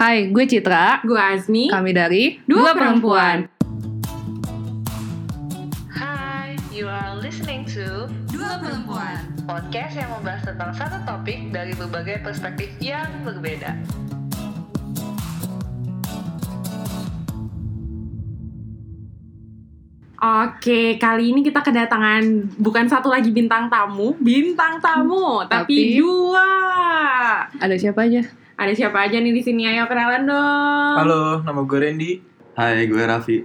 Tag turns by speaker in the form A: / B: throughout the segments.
A: Hai, gue Citra.
B: Gue Azmi.
A: Kami dari
B: Dua Perempuan.
C: Hai, you are listening to
B: Dua perempuan.
C: podcast yang membahas tentang satu topik dari berbagai perspektif yang berbeda.
B: Oke, kali ini kita kedatangan bukan satu lagi bintang tamu, bintang tamu, tapi,
A: Tapi-
B: dua.
A: Ada siapa aja?
B: Ada siapa aja nih di sini? Ayo kenalan dong.
D: Halo, nama gue Randy.
E: Hai, gue Raffi.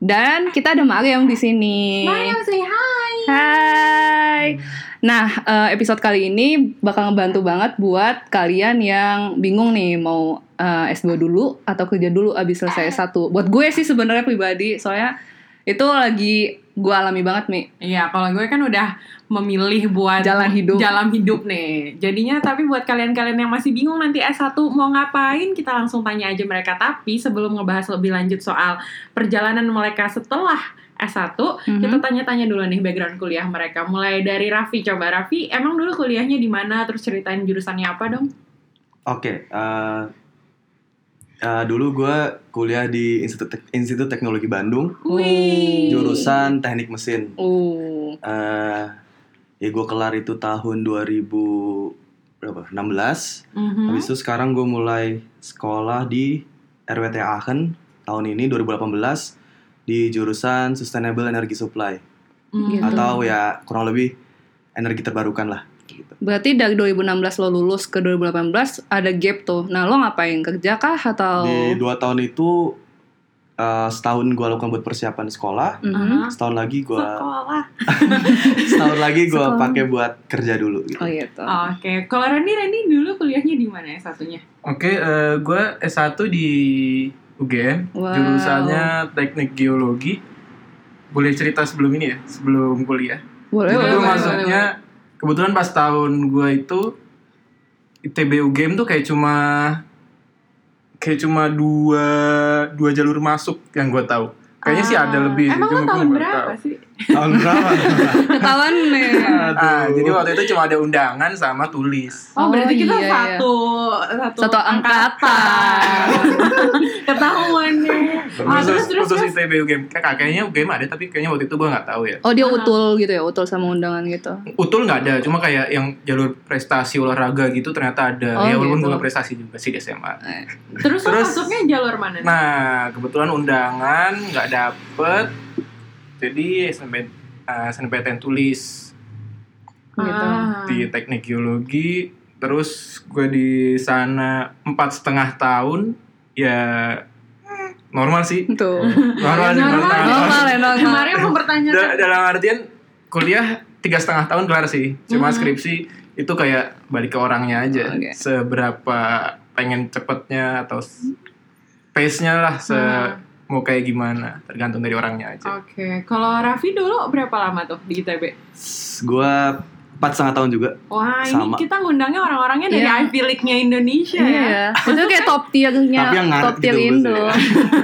A: Dan kita ada Mariam di sini.
B: Mario say hi.
A: Hai. Nah, eh, episode kali ini bakal ngebantu banget buat kalian yang bingung nih mau eh, S2 dulu atau kerja dulu abis selesai S1. Buat gue sih sebenarnya pribadi, soalnya itu lagi gue alami banget, Mi.
B: Iya, kalau gue kan udah memilih buat
A: Jalan hidup.
B: Jalan hidup nih. Jadinya tapi buat kalian-kalian yang masih bingung nanti S1 mau ngapain, kita langsung tanya aja mereka. Tapi sebelum ngebahas lebih lanjut soal perjalanan mereka setelah S1,
A: Mhm.
B: kita tanya-tanya dulu nih background kuliah mereka. Mulai dari Raffi. Coba Raffi, emang dulu kuliahnya di mana? Terus ceritain jurusannya apa dong?
E: Oke, eh, eh, dulu gue kuliah di Institut, Tek- Institut Teknologi Bandung,
A: Oh, Wih.
B: Iya.
E: jurusan Teknik Mesin.
A: Uh,
E: Eh, ya gue kelar itu tahun 2000 berapa? 16.
B: Mhm.
E: Habis itu sekarang gue mulai sekolah di RWT Aachen tahun ini 2018 di jurusan Sustainable Energy Supply
B: Mhm.
A: Gitu.
E: atau ya kurang lebih energi terbarukan lah. Gitu.
A: berarti dari 2016 lo lulus ke 2018 ada gap tuh. Nah, lo ngapain? Kerja kah atau
E: Di dua tahun itu eh, setahun gue lakukan buat persiapan sekolah,
A: Mhm.
B: Aha.
E: setahun lagi gue
B: Sekolah.
E: setahun lagi gue
A: Sekolah.
E: pakai buat kerja dulu. Gitu.
A: Oh gitu.
B: Oke, kalau Randy, Randy dulu kuliahnya di mana ya S1-nya?
D: Oke, eh, gue S1 di UGM,
A: Wow.
D: jurusannya Teknik Geologi. Boleh cerita sebelum ini ya, sebelum kuliah.
A: Boleh,
E: gitu
D: Jadi
A: boleh,
D: gue
A: boleh,
D: masuknya kebetulan pas tahun gue itu ITB UGM tuh kayak cuma kayak cuma dua dua jalur masuk yang gue tahu. Kayaknya sih ada
B: Ah,
D: lebih. sih,
B: Emang lo
D: cuma gua
B: tahun
D: nggak
B: berapa
D: tahu.
B: sih?
E: Tahun berapa?
A: boleh. Ketahuan nih.
D: Ah, jadi waktu itu cuma ada undangan sama tulis.
A: Oh,
B: Oh, berarti kita
A: iya, iya.
B: satu, satu
A: Satu angkatan.
B: Ketahuan nih. Ah,
D: khusus,
B: terus terus
D: khusus
B: terus.
D: ITB UGM Kak- kayaknya UGM ada tapi kayaknya waktu itu gue nggak tahu ya
A: Oh dia utul gitu ya, utul sama undangan gitu.
D: utul nggak ada cuma kayak yang jalur prestasi olahraga gitu ternyata ada
A: Oh,
D: ya walaupun
A: gitu.
D: gue nggak prestasi juga sih di SMA
B: Terus, lo
D: Terus-
B: masuknya jalur mana? nih?
D: nah kebetulan undangan nggak dapet jadi SNB, eh, SNPTN tulis
A: Gitu.
B: Ah.
D: di teknik geologi terus gue di sana empat setengah tahun ya hmm, normal sih
A: Tuh.
E: Hmm.
D: normal sih,
B: Normal. Oh,
D: empat setengah tahun.
A: Normal ya normal.
B: Kemarin mempertanyakan.
D: Da- dalam artian kuliah tiga setengah tahun kelar sih cuma
B: Mhm.
D: skripsi itu kayak balik ke orangnya aja
A: Oke.
D: seberapa pengen cepetnya atau s- pace-nya lah se
B: Mhm.
D: mau kayak gimana tergantung dari orangnya
E: gitu.
D: aja
B: Oke, kalau Raffi dulu berapa lama tuh di ITB?
E: gue empat setengah tahun juga.
B: Wah,
E: Sama.
B: ini kita ngundangnya orang-orangnya dari
A: Iya.
B: Ivy League-nya Indonesia ya.
A: Iya. Itu kayak top tiernya,
E: Tapi yang ngaret
A: top tier
E: gitu,
A: Indo.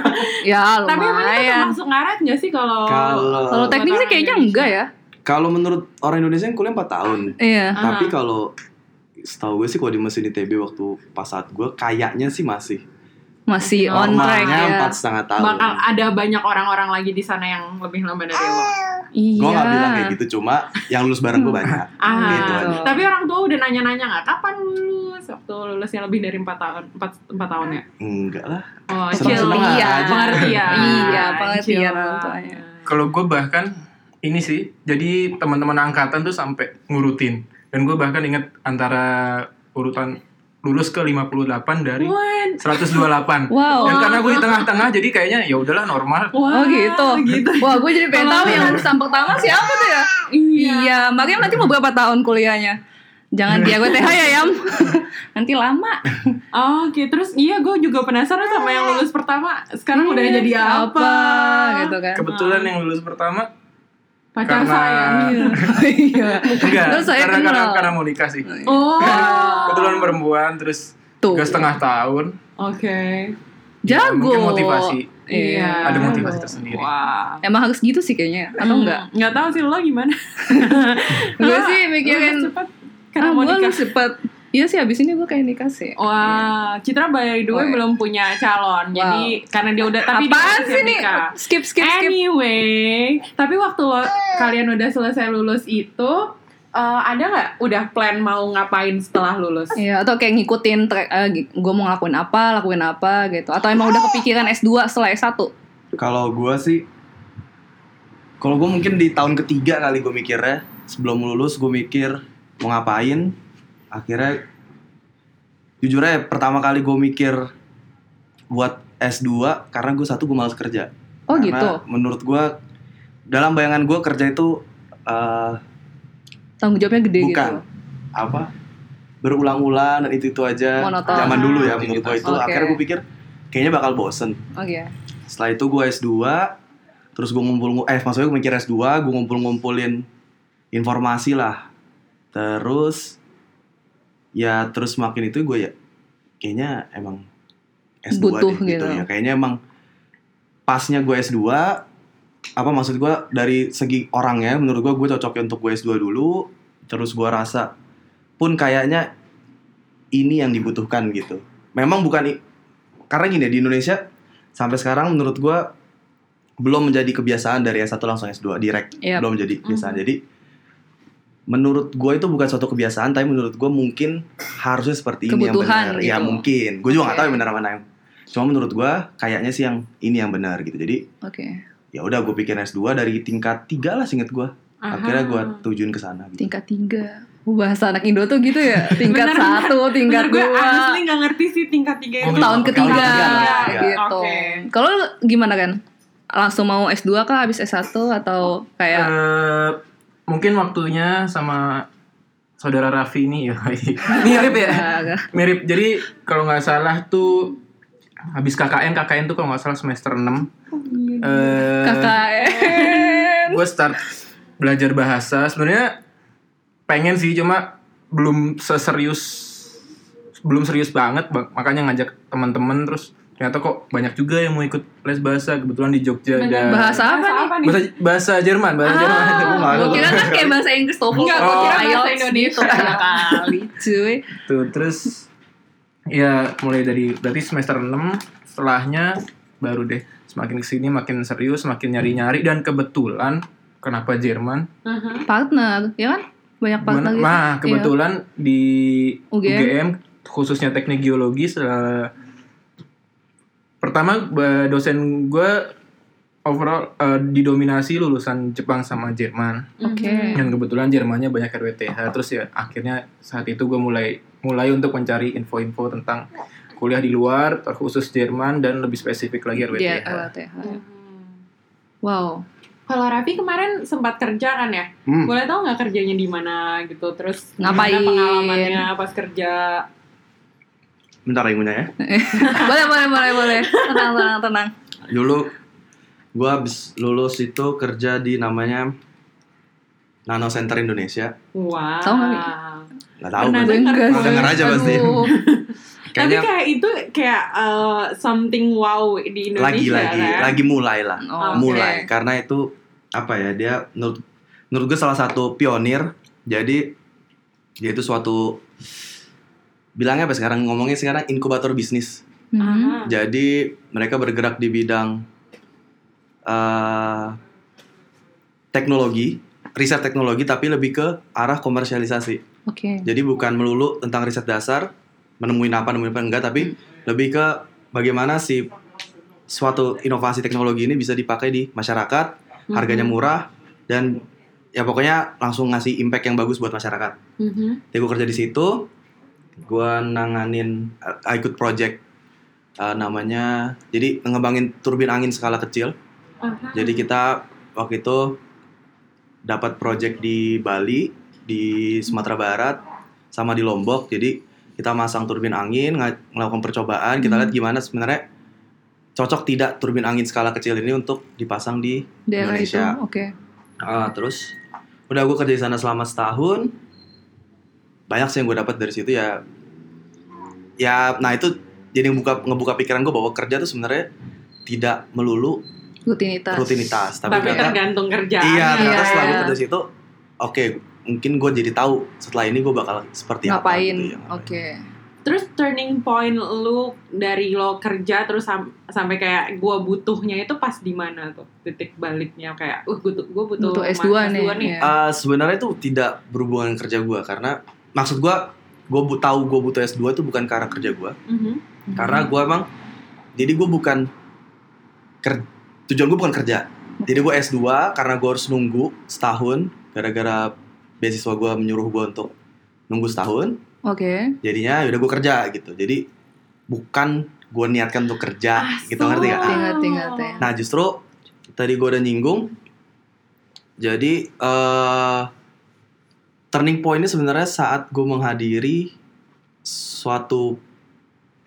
A: ya
B: Tapi emang itu
A: lumayan.
B: termasuk ngaret nggak sih kalau
A: Oh, Kalau
E: Kalau
A: teknik sih kayaknya enggak ya.
E: kalau menurut orang Indonesia yang kuliah empat tahun,
A: Iya.
B: Ah.
E: tapi kalau setahu gue sih kalau di mesin ITB waktu pas saat gue kayaknya sih masih
A: Masih on track
E: normalnya
A: ya.
E: empat setengah tahun.
B: bakal ada banyak orang-orang lagi di sana yang lebih lama dari lo?
A: Iya.
E: Gue nggak bilang kayak gitu, cuma yang lulus bareng gue banyak.
B: Ah,
E: Gitu aja.
B: tapi orang tua udah nanya-nanya nggak kapan lulus? Waktu lulusnya lebih dari 4 tahun, 4, 4 tahun ya?
E: Enggak lah.
B: Oh,
E: Seneng-seneng
B: chill.
E: aja.
B: pengertian.
A: Iya, pengertian
B: Chill.
A: orang tuanya.
D: kalau gue bahkan ini sih jadi teman-teman angkatan tuh sampai ngurutin dan gue bahkan inget antara urutan lulus ke 58 dari
B: What?
D: 128
A: Wow.
D: dan karena gue di tengah-tengah jadi kayaknya ya udahlah normal
A: Oh
B: Wah,
A: gitu. Wah, gue jadi pengen
B: Kalau
A: tahu yang lulusan pertama siapa tuh ya?
B: Iya.
A: Iya, makanya nanti mau berapa tahun kuliahnya? Jangan di AGTH ya, Yam. nanti lama.
B: Oh, Oke, terus iya gue juga penasaran sama yang lulus pertama. Sekarang udah
A: Iya,
B: jadi apa?
A: gitu kan.
D: kebetulan yang lulus pertama
B: Pacar
D: Karena-
B: saya. Iya.
A: iya.
D: enggak
A: Terus saya
D: karena, karena,
A: kenal.
D: karena mau nikah sih
B: Oh.
D: kebetulan perempuan terus
A: Tuh.
D: tiga setengah tahun
B: Oke.
D: Ya,
A: Jago.
D: mungkin motivasi
A: Iya.
D: ada motivasi tersendiri
B: Wah.
A: Emang harus gitu sih kayaknya, atau
B: Hmm.
A: enggak?
B: Nggak tahu sih lo gimana.
A: Gue sih mikirin,
B: Lulus cepet
A: ah
B: karena Oh, mau
A: gue
B: nikah.
A: cepet Iya sih abis ini gue kayak nikah sih.
B: Wah, Citra by the way
A: Oh, iya.
B: belum punya calon. Jadi karena dia udah tapi dia
A: Apaan
B: udah
A: sih
B: siap
A: nih?
B: nikah.
A: Skip skip skip.
B: Anyway, tapi waktu lo kalian udah selesai lulus itu eh, ada nggak udah plan mau ngapain setelah lulus?
A: Iya, atau kayak ngikutin track gue mau ngelakuin apa, lakuin apa gitu. Atau emang
B: Oh.
A: udah kepikiran S2 setelah S1?
E: Kalau gue sih, kalau gue mungkin di tahun ketiga kali gue mikirnya sebelum lulus gue mikir mau ngapain. Akhirnya jujur aja pertama kali gue mikir buat S2 karena gue satu gue males kerja.
A: Oh
E: Karena
A: gitu.
E: Menurut gue dalam bayangan gue kerja itu eh,
A: Tanggung jawabnya gede
E: bukan
A: gitu.
E: apa berulang-ulang dan itu itu aja
A: Monoton.
E: zaman dulu ya menurut gue itu.
A: Oke.
E: Akhirnya gue pikir kayaknya bakal bosen.
A: Oke.
E: Setelah itu gue S2 Terus gue ngumpul Eh maksudnya gue mikir S2 Gue ngumpul-ngumpulin informasi lah Terus Ya terus makin itu gue ya Kayaknya emang S2
A: Butuh
E: deh,
A: gitu.
E: ya Kayaknya emang Pasnya gue S2 Apa maksud gue Dari segi orangnya Menurut gue gue cocoknya untuk gue S2 dulu Terus gue rasa Pun kayaknya Ini yang dibutuhkan gitu Memang bukan i- Karena gini ya, di Indonesia sampai sekarang menurut gua belum menjadi kebiasaan dari S1 langsung S2 direct
A: Yap. Hmm.
E: belum menjadi kebiasaan jadi menurut gua itu bukan suatu kebiasaan tapi menurut gua mungkin harusnya seperti ini
A: Kebutuhan
E: yang benar ya
A: gitu.
E: mungkin gue juga nggak
A: Oke.
E: tahu yang benar mana yang cuma menurut gua kayaknya sih yang ini yang benar gitu jadi
A: Oke.
E: ya udah gue pikir S2 dari tingkat 3 lah singkat gua
B: Aha.
E: akhirnya gua tujuin ke sana gitu.
A: Tingkat tiga. Oh, Bahasa anak Indo tuh gitu ya. Tingkat
B: Bener,
A: satu, tingkat
B: Bener, gue
A: dua. Oh,
B: honestly nggak ngerti sih tingkat tiga itu.
E: Iya,
A: tahun
D: Tahun
A: ketiga,
E: ketiga,
A: gitu.
B: oke.
A: Kalau lu gimana kan? Langsung mau S2 kah habis S1 atau kayak
D: Eh, mungkin waktunya sama saudara Raffi ini ya. Mirip ya.
A: Agak-
D: Mirip. Jadi kalau nggak salah tuh habis KKN, KKN tuh kalau nggak salah semester 6.
A: Oh, iya.
D: Eh,
A: KKN?
D: gue start belajar bahasa sebenarnya pengen sih cuma belum seserius belum serius banget Bang. makanya ngajak teman-teman terus ternyata kok banyak juga yang mau ikut les bahasa kebetulan di Jogja ada
A: Bahasa apa nih?
B: apa
D: bahasa, bahasa Jerman bahasa Jerman
E: Gua nggak
A: Gue
E: tahu.
A: kira kan kayak bahasa Inggris TOEFL
B: Enggak,
D: gua kira
A: atau
B: bahasa
A: IELTS
B: Indonesia.
A: gitu. Ya kali cuy
D: tuh Gitu. terus ya mulai dari berarti semester 6 setelahnya baru deh semakin kesini makin serius makin nyari-nyari dan kebetulan kenapa Jerman
B: Aha.
A: Partner, ya kan? Banyak partner
D: Gimana?
A: gitu
D: Nah, kebetulan di
A: UGM.
D: UGM, khususnya teknik geologi eh, pertama eh, dosen gue overall eh, didominasi lulusan Jepang sama Jerman.
A: Oke
D: Dan kebetulan Jermannya banyak RWTH. Terus ya akhirnya saat itu gue mulai mulai untuk mencari info-info tentang kuliah di luar, terkhusus Jerman dan lebih spesifik lagi RWTH.
E: ya?
A: Dia LTH eh, Wow
B: Kalau Raffi kemarin sempat kerja kan ya?
E: Hmm.
B: Boleh tahu nggak kerjanya di mana gitu? Terus gimana
A: Ngapain?
B: pengalamannya pas kerja?
E: bentar ya Bunda, ya
A: Boleh boleh boleh boleh Tenang tenang tenang
E: dulu gue habis lulus itu kerja di namanya Nano Center Indonesia
B: Wah.
A: Tahu nggak, Wi?
E: nggak tahu
B: Pernah
E: gua.
B: Dengar.
A: Enggak sih.
E: Dengar aja pasti.
A: Aduh.
B: Tapi
E: Kayaknya
B: kayak itu kayak uh, something wow di
E: lagi
B: Indonesia
E: lagi
B: kan?
E: lagi mulai lah
A: Oh,
E: mulai
A: oke.
E: karena itu apa ya dia menurut menurut gue salah satu pionir jadi dia itu suatu bilangnya apa sekarang ngomongnya sekarang inkubator bisnis
A: Mhm.
E: Hmm.
B: Aha.
E: jadi mereka bergerak di bidang eh, teknologi riset teknologi tapi lebih ke arah komersialisasi
A: Oke
E: Jadi bukan melulu tentang riset dasar, menemuin apa, nemuin apa enggak, tapi lebih ke bagaimana si suatu inovasi teknologi ini bisa dipakai di masyarakat,
B: Hmm.
E: harganya murah dan ya pokoknya langsung ngasih impact yang bagus buat masyarakat.
B: Mhm.
E: Jadi gue kerja di situ, gue nanganin eh, ikut project eh, namanya, jadi ngembangin turbin angin skala kecil.
B: Aha.
E: Jadi kita waktu itu dapat project di Bali, di Sumatera Barat, sama di Lombok. Jadi kita masang turbin angin, nga- melakukan percobaan, kita
A: Hmm.
E: lihat gimana sebenarnya cocok tidak turbin angin skala kecil ini untuk dipasang di
A: Daerah itu
E: Indonesia.
A: Oke
E: Ah, terus udah gue kerja di sana selama setahun. Banyak sih yang gue dapat dari situ ya. Ya, nah itu jadi ngebuka ngebuka pikiran gue bahwa kerja tuh sebenarnya tidak melulu
A: Rutinitas
E: rutinitas, tapi,
B: Tapi
E: ternyata
B: tergantung kerjaan.
E: Iya,
A: Iya,
E: ternyata setelah
A: iya.
E: gue kerja di situ, oke, mungkin gue jadi tahu setelah ini gue bakal seperti apa
A: ngapain?
E: gitu ya.
A: Oke.
B: Terus turning point lu dari lo kerja terus sam- sampai kayak gua butuhnya itu pas di mana tuh titik baliknya kayak uh gua, tu- gua butuh,
A: Butuh
B: ma-
A: S2 nih.
B: iya.
A: ya.
E: Ah, sebenarnya itu tidak berhubungan kerja gue karena maksud gue gue bu tahu gue butuh S 2 itu bukan karena kerja gue
B: Mhm.
E: karena gue emang jadi gue bukan ker- tujuan gue bukan kerja jadi gue S 2 karena gue harus nunggu setahun gara-gara beasiswa gue menyuruh gue untuk nunggu setahun
A: Hmm, Oke.
E: jadinya udah gue kerja gitu jadi bukan gue niatkan untuk kerja gitu ngerti gak?
A: Ngerti, ngerti, ngerti.
B: Iya.
E: Nah justru tadi gue udah nyinggung, jadi eh turning pointnya sebenarnya saat gue menghadiri suatu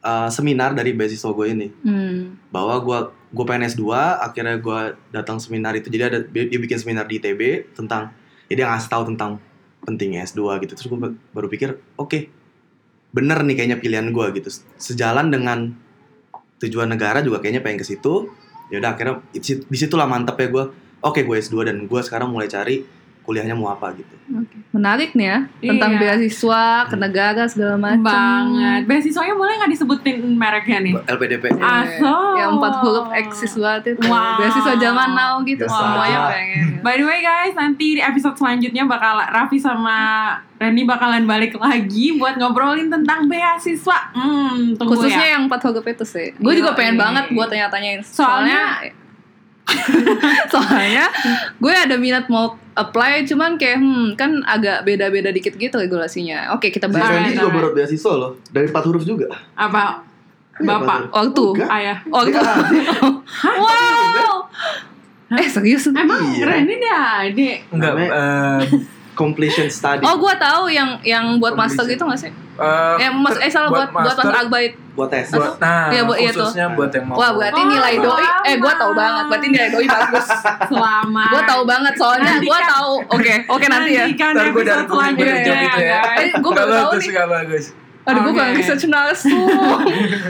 E: eh, seminar dari beasiswa gue ini
A: Hmm.
E: bahwa gue gue pengen S2 akhirnya gue datang seminar itu jadi ada dia bikin seminar di ITB tentang jadi dia ngasih tahu tentang pentingnya S2 gitu terus gue baru pikir oke bener nih kayaknya pilihan gue gitu sejalan dengan tujuan negara juga kayaknya pengen ke situ ya udah akhirnya di disitulah mantepnya gue oke gue S2 dan gue sekarang mulai cari kuliahnya mau apa gitu
A: Oke. Menarik nih ya tentang
B: Iya.
A: beasiswa, ke negara segala Iya. macam.
B: banget. Beasiswanya boleh nggak disebutin mereknya nih?
E: LPDP
A: Iya.
B: Aso.
A: Yang empat huruf eksis banget itu.
B: Wow.
A: Beasiswa zaman now gitu
E: Biasa.
A: semuanya pengen.
B: By the way guys, nanti di episode selanjutnya bakal Raffi sama Randy bakalan balik lagi buat ngobrolin tentang beasiswa. Hmm, tunggu
A: Khususnya
B: ya.
A: yang empat huruf itu sih. Gue
B: Iya,
A: juga pengen
B: iya,
A: banget
B: iya.
A: buat tanya-tanyain.
B: Soalnya-
A: soalnya, soalnya gue ada minat mau apply cuman kayak hmm kan agak beda-beda dikit gitu regulasinya. Oke, kita
E: Si
A: bahas
B: Alright,
E: Fendi juga
B: alright.
E: baru beasiswa loh dari empat huruf juga
B: apa? Bapak,
A: waktu.
E: Enggak.
B: ayah.
A: Waktu. wow. Eh, serius?
B: Emang ya?
E: Iya.
B: Randy dah adik.
D: Enggak,
E: Namanya-
D: eh,
E: completion study
A: Oh, gue tahu yang yang buat master gitu gak sih?
D: eh,
A: Eh, mas, eh salah buat buat
D: master,
A: master Akbait.
E: buat tes
D: buat, nah,
A: Iya, buat- iya tuh.
D: khususnya buat yang mau.
A: Wah, berarti
B: Oh,
A: nilai doi. Eh, gue tahu
B: selamat.
A: banget. Berarti nilai doi bagus.
B: Selamat.
A: gue tahu banget soalnya gue
B: Nantikan-
A: tahu. Oke, oke nanti ya.
B: Nantikan
D: Ntar gue
B: episode
D: dari gue
B: selanjutnya
D: jawab itu ya.
B: guys.
A: Eh, gue baru tahu
D: bagus,
A: nih.
D: nggak bagus.
A: Aduh, gue
B: kan. Oke.
A: kurang research langsung.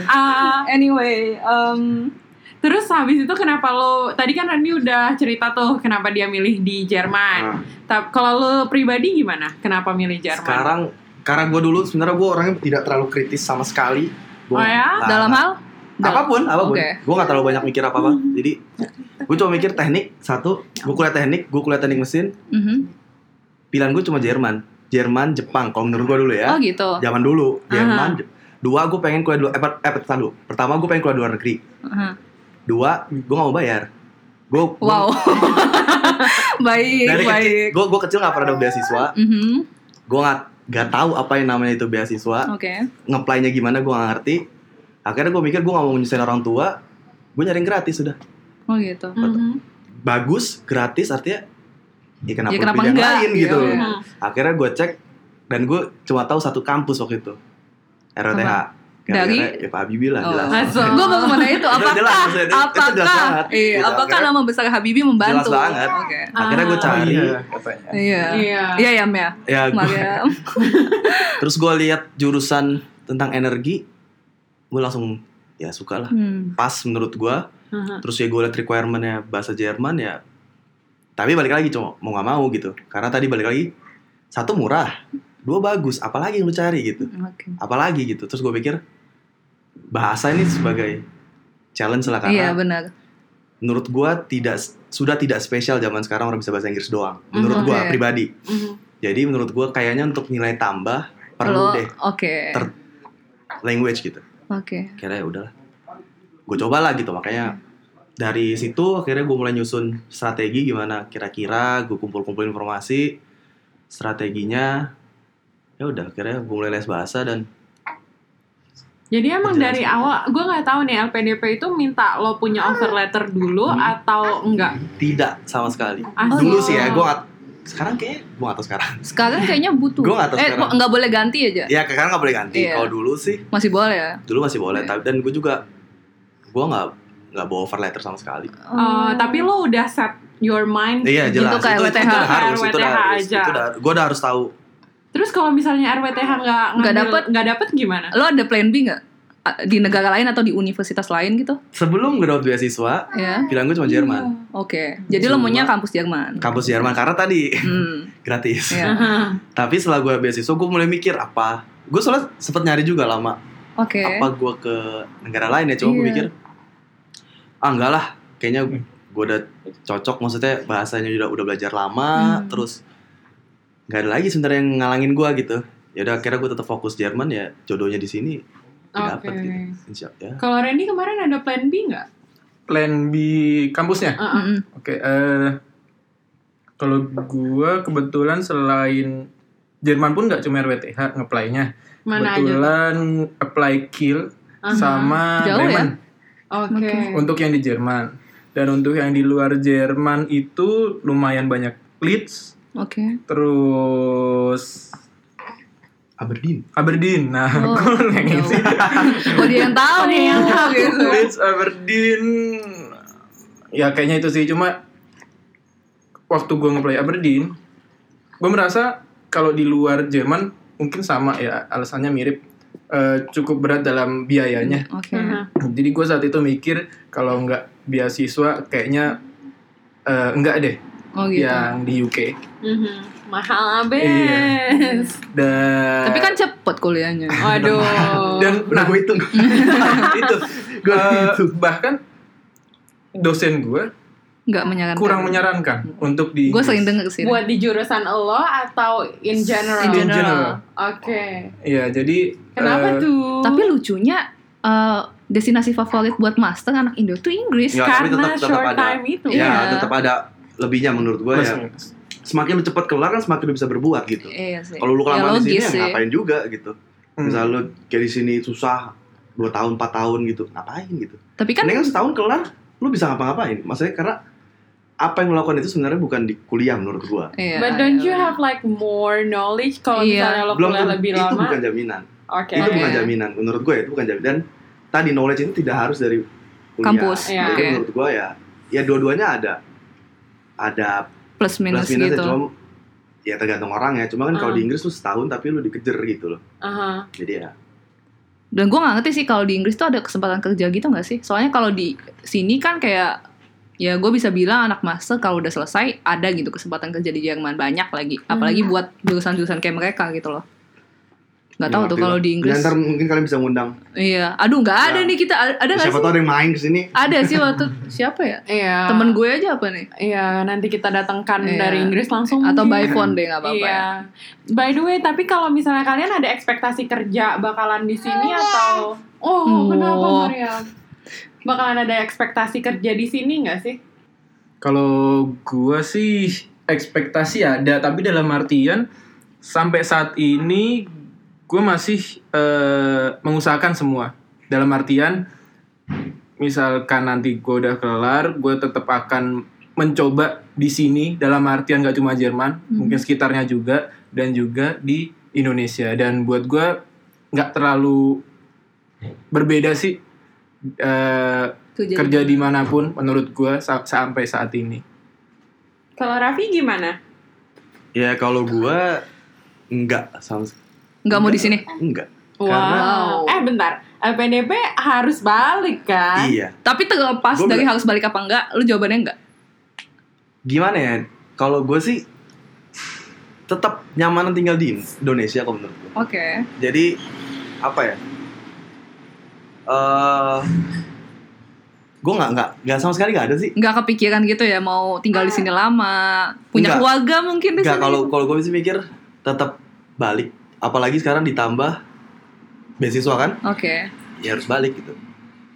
B: Ah,
A: anyway, um,
B: Terus habis itu kenapa lo tadi kan Randy udah cerita tuh kenapa dia milih di
E: Ah.
B: Jerman. Ta- Kalau lo pribadi gimana? Kenapa milih
A: Iya,
B: Jerman?
E: Sekarang karena gue dulu sebenarnya gue orangnya tidak terlalu kritis sama sekali. Gua
B: Oh ya?
E: nggak-
A: dalam hal
E: Nah, apapun, apapun.
A: Oke. Hmm.
E: Gue nggak terlalu banyak mikir apa apa. Jadi gue cuma mikir teknik satu. Gue kuliah teknik, gue kuliah teknik mesin.
A: Mhm.
E: Pilihan gue cuma Jerman, Jerman, Jepang. Kalau menurut gue dulu
A: oh
E: ya,
A: gitu.
E: zaman dulu
B: Aha.
E: Jerman. Je- Dua gue pengen kuliah dua, eh, per- eh pertama dulu. Pertama gue pengen kuliah luar negeri.
A: Aha.
E: Dua, gue nggak mau bayar. Gue
A: Wow, baik
E: dari
A: baik.
E: kecil, gue gue kecil nggak pernah ada beasiswa.
A: Mhm,
E: Gue nggak nggak tahu apa yang namanya itu beasiswa.
A: Oke.
E: ngeplaynya gimana gue gak ngerti akhirnya gue mikir gue gak mau nyusahin orang tua gue nyari yang gratis sudah
A: Oh gitu.
B: Mhm.
E: bagus gratis artinya ya kenapa,
A: Ya, kenapa
E: pilih yang
A: enggak?
E: lain
A: Iya,
E: gitu
A: iya.
B: Mhm.
E: akhirnya gue cek dan gue cuma tahu satu kampus waktu itu ROTH
A: Apa? Dari?
E: Gara-gara ya Pak Habibie lah
A: Oh.
E: jelas
B: Masuk.
A: Gue mau kemana itu?
E: Itu jelas,
A: Apakah,
E: maksudnya itu- itu jelas banget.
A: apakah, iya,
E: Gitu,
A: apakah
E: akhirnya-
A: nama besar Habibie membantu?
E: Jelas banget.
A: Oke.
E: akhirnya gue
B: Ah.
D: Oh,
E: cari
D: iya, katanya.
A: Iya.
B: Iya.
A: Iya ya Mia.
E: ya gua-
A: Mariam.
E: terus gue lihat jurusan tentang energi gue langsung ya suka lah
A: Hmm.
E: pas menurut gue
B: Mhm.
E: terus ya gue liat requirementnya bahasa Jerman ya tapi balik lagi cuma mau nggak mau gitu karena tadi balik lagi satu murah dua bagus apalagi yang lu cari gitu
A: Oke.
E: apalagi gitu terus gue pikir bahasa ini sebagai challenge lah
A: Iya
E: karena
A: benar.
E: menurut gue tidak sudah tidak spesial zaman sekarang orang bisa bahasa Inggris doang menurut gue
A: Oke.
E: pribadi
B: Mhm.
E: jadi menurut gue kayaknya untuk nilai tambah
A: Lo-
E: perlu deh
A: Oke.
E: Ter- language gitu
A: Oke.
E: akhirnya ya udahlah gue coba lah gitu makanya dari situ akhirnya gue mulai nyusun strategi gimana kira-kira gue kumpul-kumpul informasi strateginya ya udah akhirnya gue mulai les bahasa dan
B: Jadi emang
E: Jelas.
B: dari awal gue nggak tahu nih LPDP itu minta lo punya offer letter dulu
E: Ah. Hmm.
B: atau enggak?
E: tidak sama sekali
B: Ah,
A: Oh,
E: dulu
A: iya.
E: sih ya gue nggak sekarang kayaknya gue nggak tahu sekarang
A: Sekarang kayaknya butuh.
E: Gua nggak tahu
A: eh,
E: sekarang.
A: kok nggak boleh ganti aja?
E: ya sekarang nggak boleh ganti
A: Iya.
E: kalau dulu sih
A: Masih boleh ya?
E: dulu masih boleh
A: Iya.
E: tapi dan gue juga gue nggak nggak bawa over letter sama sekali
B: Eh, tapi lo udah set your mind.
A: Hmm,
E: iya
A: Gitu
E: jelas
A: kayak
E: itu, itu,
A: WTH.
E: udah harus itu udah
B: RWTH
E: harus
B: aja.
E: itu udah gue udah harus tahu
B: Terus kalau misalnya RWTH nggak
A: Nggak
B: ngambil-
A: dapet.
B: nggak dapet gimana?
A: lo ada plan B nggak? uh, di negara lain atau di universitas lain gitu?
E: Sebelum gue dapat beasiswa,
A: Ya.
E: pilihan gue cuma Jerman.
A: Oke. Jadi lo maunya kampus Jerman.
E: Kampus Jerman karena tadi
A: Hmm.
E: gratis.
A: Iya.
E: Tapi setelah gue beasiswa, gue mulai mikir apa. Gue soalnya sempet nyari juga lama.
A: Oke.
E: Apa gue ke negara lain ya? Coba gue
A: Iya.
E: mikir, ah enggak lah. Kayaknya gue udah cocok. Maksudnya bahasanya udah udah belajar lama.
A: Hmm.
E: Terus nggak ada lagi sebenarnya yang ngalangin gue gitu. Ya udah akhirnya gue tetap fokus Jerman ya. Jodohnya di sini
B: Oke.
E: dapat gitu. Insya ya.
B: Kalau Randy kemarin ada plan B nggak?
D: Plan B kampusnya.
B: Heeh.
A: Mm-mm.
D: Oke, eh kalau gua kebetulan selain Jerman pun nggak cuma RWTH ngeplaynya.
B: Mana aja?
D: kebetulan apply Kiel
B: Aha.
D: sama
A: Jauh ya?
D: Bremen
B: Oke.
D: untuk yang di Jerman. Dan untuk yang di luar Jerman itu lumayan banyak Leeds,
A: Oke.
D: terus
E: Aberdeen.
D: Aberdeen. Nah,
A: Oh,
D: gue pengen
A: jauh.
D: sih.
E: gitu.
A: Oh dia yang tahu nih yang tahu gitu.
D: Leeds, Aberdeen. Ya kayaknya itu sih. Cuma waktu gue ngeplay Aberdeen, gue merasa kalau di luar Jerman mungkin sama ya alasannya mirip. Eh, cukup berat dalam biayanya.
A: Oke.
B: Aha.
D: Jadi gue saat itu mikir kalau nggak beasiswa kayaknya eh, enggak deh
A: Oh gitu.
E: Ya.
D: yang di UK.
B: Mhm. Mahal abis.
D: Iya. Dan
A: Tapi kan cepet kuliahnya.
E: Iya.
B: Waduh.
D: dan nah,
E: Udah gue hitung. itu. Gue
D: Eh,
E: hitung.
D: bahkan dosen gue
A: Nggak menyarankan.
D: kurang menyarankan untuk di
A: Gue sering denger sih.
B: Buat di jurusan lo atau in general?
A: In
D: general.
B: Oke.
D: Iya, jadi
B: Kenapa
D: eh,
B: tuh?
A: Tapi lucunya eh, destinasi favorit buat master anak Indo tuh Inggris.
E: Ya,
B: karena
E: tapi tetap- tetap
B: short
E: ada.
B: time itu.
E: Ya,
A: Iya.
E: tetap ada lebihnya menurut gue
D: plus
E: ya.
D: minus.
E: Semakin lu cepat keluar kan semakin lu bisa berbuat gitu.
A: Iya sih.
E: Kalau lu kelamaan
A: Ya,
E: di sini
A: logis
E: ya
A: sih.
E: ngapain juga gitu.
D: Hmm.
E: Misalnya lu kayak di sini susah 2 tahun 4 tahun gitu. Ngapain gitu.
A: Tapi kan
E: Mendingan setahun kelar lu bisa ngapa-ngapain. Maksudnya karena apa yang lu lakukan itu sebenarnya bukan di kuliah menurut gua.
A: Iya,
B: But don't you
A: iya.
B: have like more knowledge kalau
A: Iya.
B: misalnya lo
E: Belum
B: kuliah
E: tentu-
B: lebih
E: itu
B: lama?
E: bukan jaminan.
B: Oke.
E: Itu
A: Oke.
E: bukan jaminan menurut gue ya, itu bukan jaminan. Dan tadi knowledge itu tidak harus dari kuliah.
A: Kampus,
E: Jadi
B: iya.
A: oke.
E: menurut gue ya, ya dua-duanya ada. Ada
A: plus minus,
E: plus minus
A: gitu. Hmm.
E: ya, cuma ya tergantung orang ya. Cuma kan kalau
B: Ah.
E: di Inggris lu setahun tapi lu dikejar gitu loh.
B: Aha.
E: Jadi ya
A: Dan gue gak ngerti sih kalau di Inggris tuh ada kesempatan kerja gitu gak sih? Soalnya kalau di sini kan kayak ya gue bisa bilang anak master kalau udah selesai ada gitu kesempatan kerja di Jerman banyak lagi.
B: Hmm.
A: Apalagi buat jurusan-jurusan kayak mereka gitu loh. Gak tahu
E: nggak
A: tuh
E: ngerti
A: kalau
E: lah.
A: di Inggris.
E: Ya, ntar mungkin kalian bisa ngundang.
A: Iya. Aduh nggak ada
E: Ya.
A: nih kita. A- Ada gak
E: Siapa
A: sih?
E: tahu ada yang main kesini.
A: Ada sih waktu siapa ya?
B: Iya.
A: Temen gue aja apa nih?
B: Iya, nanti kita datangkan
A: Iya.
B: dari Inggris langsung.
A: Atau by
B: mungkin.
A: phone deh gak apa-apa
B: Oh, Iya.
A: ya.
B: By the way, tapi kalau misalnya kalian ada ekspektasi kerja bakalan di sini atau Oh,
A: Oh.
B: kenapa Mariam? Bakalan ada ekspektasi kerja di sini nggak sih?
D: Kalau gua sih ekspektasi ada, tapi dalam artian sampai saat ini gua masih eh, mengusahakan semua. Dalam artian misalkan nanti gua udah kelar, gua tetap akan mencoba di sini dalam artian gak cuma Jerman, mungkin sekitarnya juga dan juga di Indonesia. Dan buat gua nggak terlalu berbeda sih eh,
A: Kerja,
D: kerja dimanapun menurut gue sampai saat ini
B: Kalau Raffi gimana?
E: Ya kalau gua enggak sama sekali.
A: Nggak mau di sini.
E: Enggak.
B: Wow.
A: Karena-
B: Eh bentar, LPDP harus balik kan?
E: Iya.
A: Tapi terlepas
E: Gua
A: dari
E: bela-
A: harus balik apa enggak, lu jawabannya enggak.
E: Gimana ya? Kalau gua sih tetap nyamanan tinggal di Indonesia kalau menurut gua.
A: Oke.
E: Jadi apa ya? Eh gua nggak nggak nggak sama sekali nggak ada sih.
A: Nggak kepikiran gitu ya mau tinggal di sini lama, punya
E: Nggak.
A: keluarga mungkin di
E: Enggak
A: sini.
E: kalau kalau gue sih mikir tetap balik. Apalagi sekarang ditambah beasiswa kan?
A: Oke.
E: ya harus balik gitu.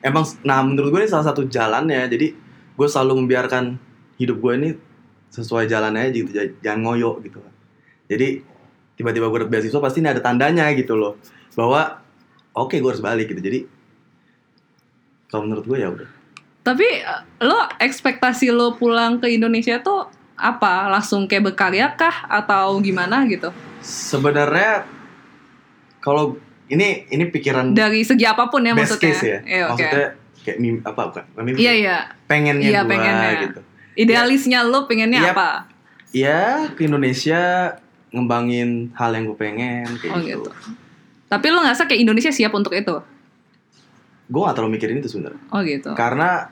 E: Emang, nah menurut gue ini salah satu jalannya. Jadi gue selalu membiarkan hidup gue ini sesuai jalannya aja gitu, j- jangan ngoyo gitu. Jadi tiba-tiba gue dapat beasiswa pasti ini ada tandanya gitu loh, bahwa oke gue harus balik gitu. Jadi kalau menurut gue ya udah.
A: Tapi eh, lo ekspektasi lo pulang ke Indonesia tuh apa? Langsung kayak berkarya kah atau gimana gitu?
E: Sebenarnya kalau ini ini pikiran
A: Dari segi apapun ya
E: best
A: maksudnya.
E: case ya,
A: Iya, oke.
E: maksudnya kayak mim, apa bukan? Bukan mimpi,
A: Iya, iya.
E: pengennya
A: Iya,
E: gue
A: pengennya.
E: gitu.
A: Idealisnya lo pengennya
E: Yap.
A: apa?
E: ya ke Indonesia ngembangin hal yang gue pengen kayak
A: Oh,
E: gitu.
A: gitu. Tapi lo ngerasa kayak Indonesia siap untuk itu?
E: gue gak terlalu mikirin itu sebenarnya
A: Oh gitu.
E: karena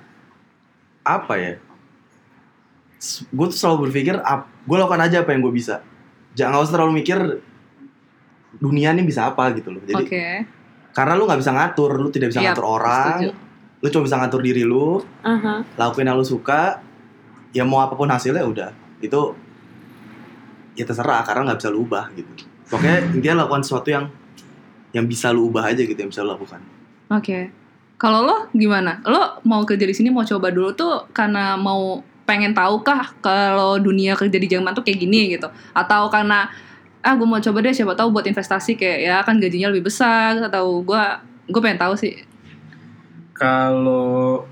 E: apa ya gue tuh selalu berpikir gue lakukan aja apa yang gue bisa jangan nggak usah terlalu mikir dunia ini bisa apa gitu loh jadi
A: Oke.
E: karena lu nggak bisa ngatur lu tidak bisa
A: Yap,
E: ngatur orang
A: setuju.
E: lu cuma bisa ngatur diri lu
B: Aha.
E: lakuin yang lu suka ya mau apapun hasilnya udah itu ya terserah karena nggak bisa lu ubah gitu pokoknya
A: Hmm.
E: intinya lakukan sesuatu yang yang bisa lu ubah aja gitu yang bisa lu lakukan
A: Oke. Kalau lo gimana? Lo mau kerja di sini mau coba dulu tuh karena mau pengen tahu kah kalau dunia kerja di Jerman tuh kayak gini gitu atau karena ah gue mau coba deh siapa tahu buat investasi kayak ya kan gajinya lebih besar atau gue gue pengen tahu sih
D: Kalau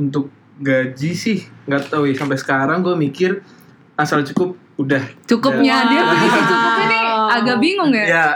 D: untuk gaji sih nggak tahu ya sampai sekarang gue mikir asal cukup udah.
A: cukupnya
B: Wow.
A: dia definisi cukupnya nih agak bingung ya.
D: Ya,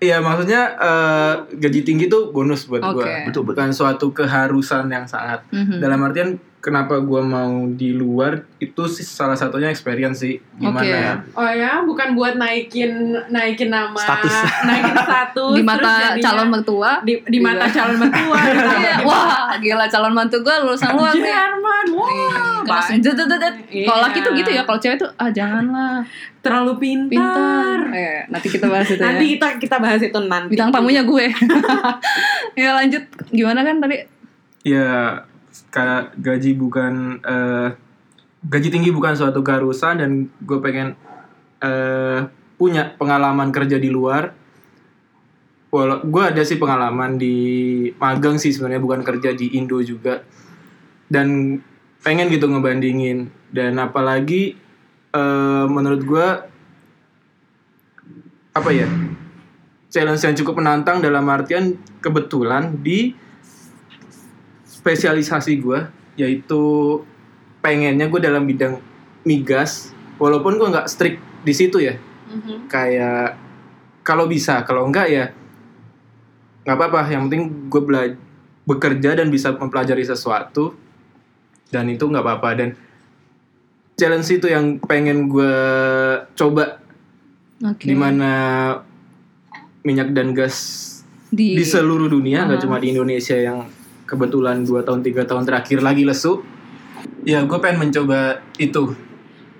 D: iya maksudnya eh, gaji tinggi tuh bonus buat
A: Oke.
D: gue.
E: betul betul
D: Bukan suatu keharusan yang sangat.
A: Mhm.
D: Dalam artian kenapa gue mau di luar itu sih salah satunya experience sih gimana.
A: Oke.
D: ya.
B: Oh ya, bukan buat naikin naikin nama,
E: Status.
B: naikin status
A: di
B: terus
A: mata
B: jadinya-
A: calon mertua.
B: di, di mata
A: Iya.
B: calon gitu. mertua.
A: Iya, Wah, gila calon mantu gue lulusan luar nih.
B: Jerman, wah,
A: Iya. Langsung
B: banyak.
A: dudududud. Kalau laki tuh gitu ya,
B: Iya. Iya.
A: kalau cewek tuh ah janganlah
B: terlalu pintar.
A: pintar. Eh, nanti kita bahas itu
B: Nanti
A: ya.
B: kita kita bahas itu nanti.
A: Bintang tamunya gue. ya lanjut gimana kan tadi?
D: Ya, ka- gaji bukan eh, gaji tinggi bukan suatu keharusan dan gue pengen eh, punya pengalaman kerja di luar. Walau gue ada sih pengalaman di magang sih sebenarnya bukan kerja di Indo juga dan pengen gitu ngebandingin dan apalagi eh, menurut gue apa ya challenge yang cukup menantang dalam artian kebetulan di spesialisasi gue yaitu pengennya gue dalam bidang migas walaupun gue nggak strict di situ ya
B: Mhm.
D: kayak kalau bisa kalau enggak ya nggak apa-apa yang penting gue bela- bekerja dan bisa mempelajari sesuatu dan itu nggak apa-apa dan challenge itu yang pengen gue coba
A: Oke.
D: di mana minyak dan gas di
A: Iya.
D: seluruh dunia nggak cuma di Indonesia yang kebetulan 2 tahun tiga tahun terakhir lagi lesu ya gue pengen mencoba itu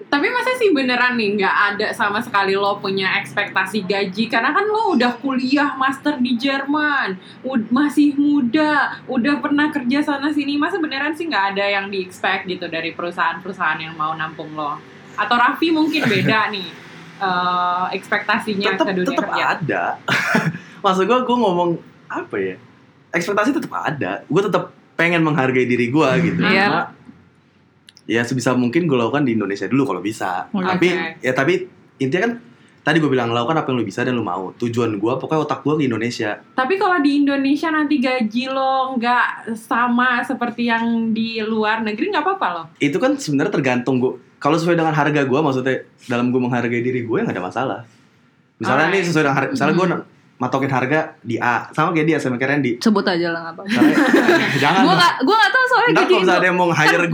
B: Tapi masa sih beneran nih nggak ada sama sekali lo punya ekspektasi gaji karena kan lo udah kuliah master di Jerman, ud- masih muda, udah pernah kerja sana sini. Masa beneran sih nggak ada yang di expect gitu dari perusahaan-perusahaan yang mau nampung lo? Atau Raffi mungkin beda nih eh, ekspektasinya
E: tetap
B: ke dunia
E: tetap
B: kerja.
A: ya.
E: ada maksud gue gue ngomong apa ya ekspektasi tetap ada gue tetap pengen menghargai diri gue gitu
A: Iya.
E: Cuma, ya sebisa mungkin gue lakukan di Indonesia dulu kalau bisa
A: Hmm, Oke.
E: tapi ya tapi intinya kan tadi gue bilang lakukan apa yang lu bisa dan lu mau tujuan gue pokoknya otak gue ke Indonesia
B: Tapi kalau di Indonesia nanti gaji lo nggak sama seperti yang di luar negeri nggak apa-apa lo.
E: itu kan sebenarnya tergantung gue kalau sesuai dengan harga gue maksudnya dalam gue menghargai diri gue nggak ada masalah misalnya nih
B: Alright.
E: sesuai dengan harga misalnya gue matokin harga di A sama kayak dia sama keren di
A: sebut aja lah apa.
E: Misalnya- jangan
A: Gue
E: lah.
A: gak gue gak tahu soalnya
E: Ntar
A: gaji.
E: kalau misalnya ada yang mau hire gue
A: Enggak,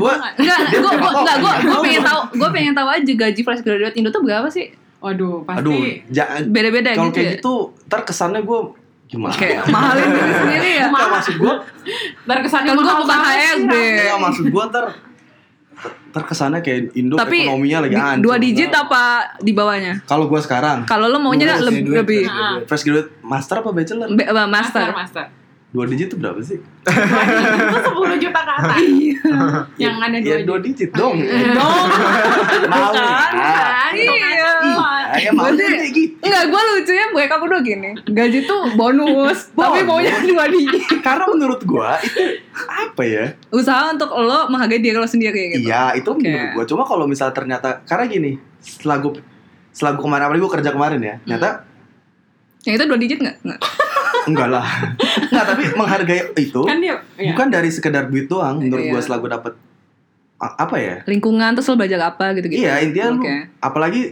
E: Dia
A: gue
E: nggak
A: enggak
E: tahu.
A: gue gue pengen tahu gue pengen tahu aja gaji fresh graduate Indo tuh berapa sih?
B: Waduh, pasti.
E: Aduh, jangan
A: Beda-beda
E: Kalau
A: gitu.
E: kayak
A: ya?
E: gitu, ntar kesannya gue gimana?
A: Kayak mahalin diri sendiri ya.
E: Nggak, maksud gue,
B: Terkesannya
A: Kan gue
B: mahal
A: bukan
B: banget sih,
A: HRD.
B: Raffi.
E: nggak, maksud gue ntar ntar kesannya kayak Indo
A: Tapi
E: ekonominya lagi
A: di-
E: hancur.
A: dua digit apa di bawahnya?
E: Kalau gue sekarang,
A: Kalau lo maunya
D: Dua
A: lebih
D: graduate,
A: lebih
D: graduate.
E: fresh graduate master apa bachelor?
A: be- apa,
B: Master,
A: master.
B: master.
E: Dua digit itu berapa sih?
B: Itu 10 juta ke atas. yang ada dua
E: ya, Iya. dua
B: digit.
E: digit dong.
B: Dong.
E: mau ya.
B: Bukan.
A: Ah. Iya.
B: Bukan.
E: Ya mau
A: Berarti-
E: kayak gitu.
A: Enggak, gue lucunya mereka berdua gini Gaji tuh bonus Tapi maunya dua digit
E: Karena menurut gue itu apa ya?
A: Usaha untuk lo menghargai diri lo sendiri gitu
E: Iya, itu
A: Oke.
E: menurut gue. Cuma kalau misalnya ternyata karena gini, setelah gue setelah gue kemarin apalagi gue kerja kemarin ya, ternyata
A: Hmm. Yang itu dua digit gak? Nggak.
E: enggak lah. Enggak, tapi menghargai itu
B: Kan dia iya.
E: bukan dari sekedar duit doang menurut
A: Iya.
E: gue setelah gue dapet a- apa ya?
A: Lingkungan terus lo belajar apa gitu-gitu
E: Iya, intinya lu
A: Gitu. Oke.
E: apalagi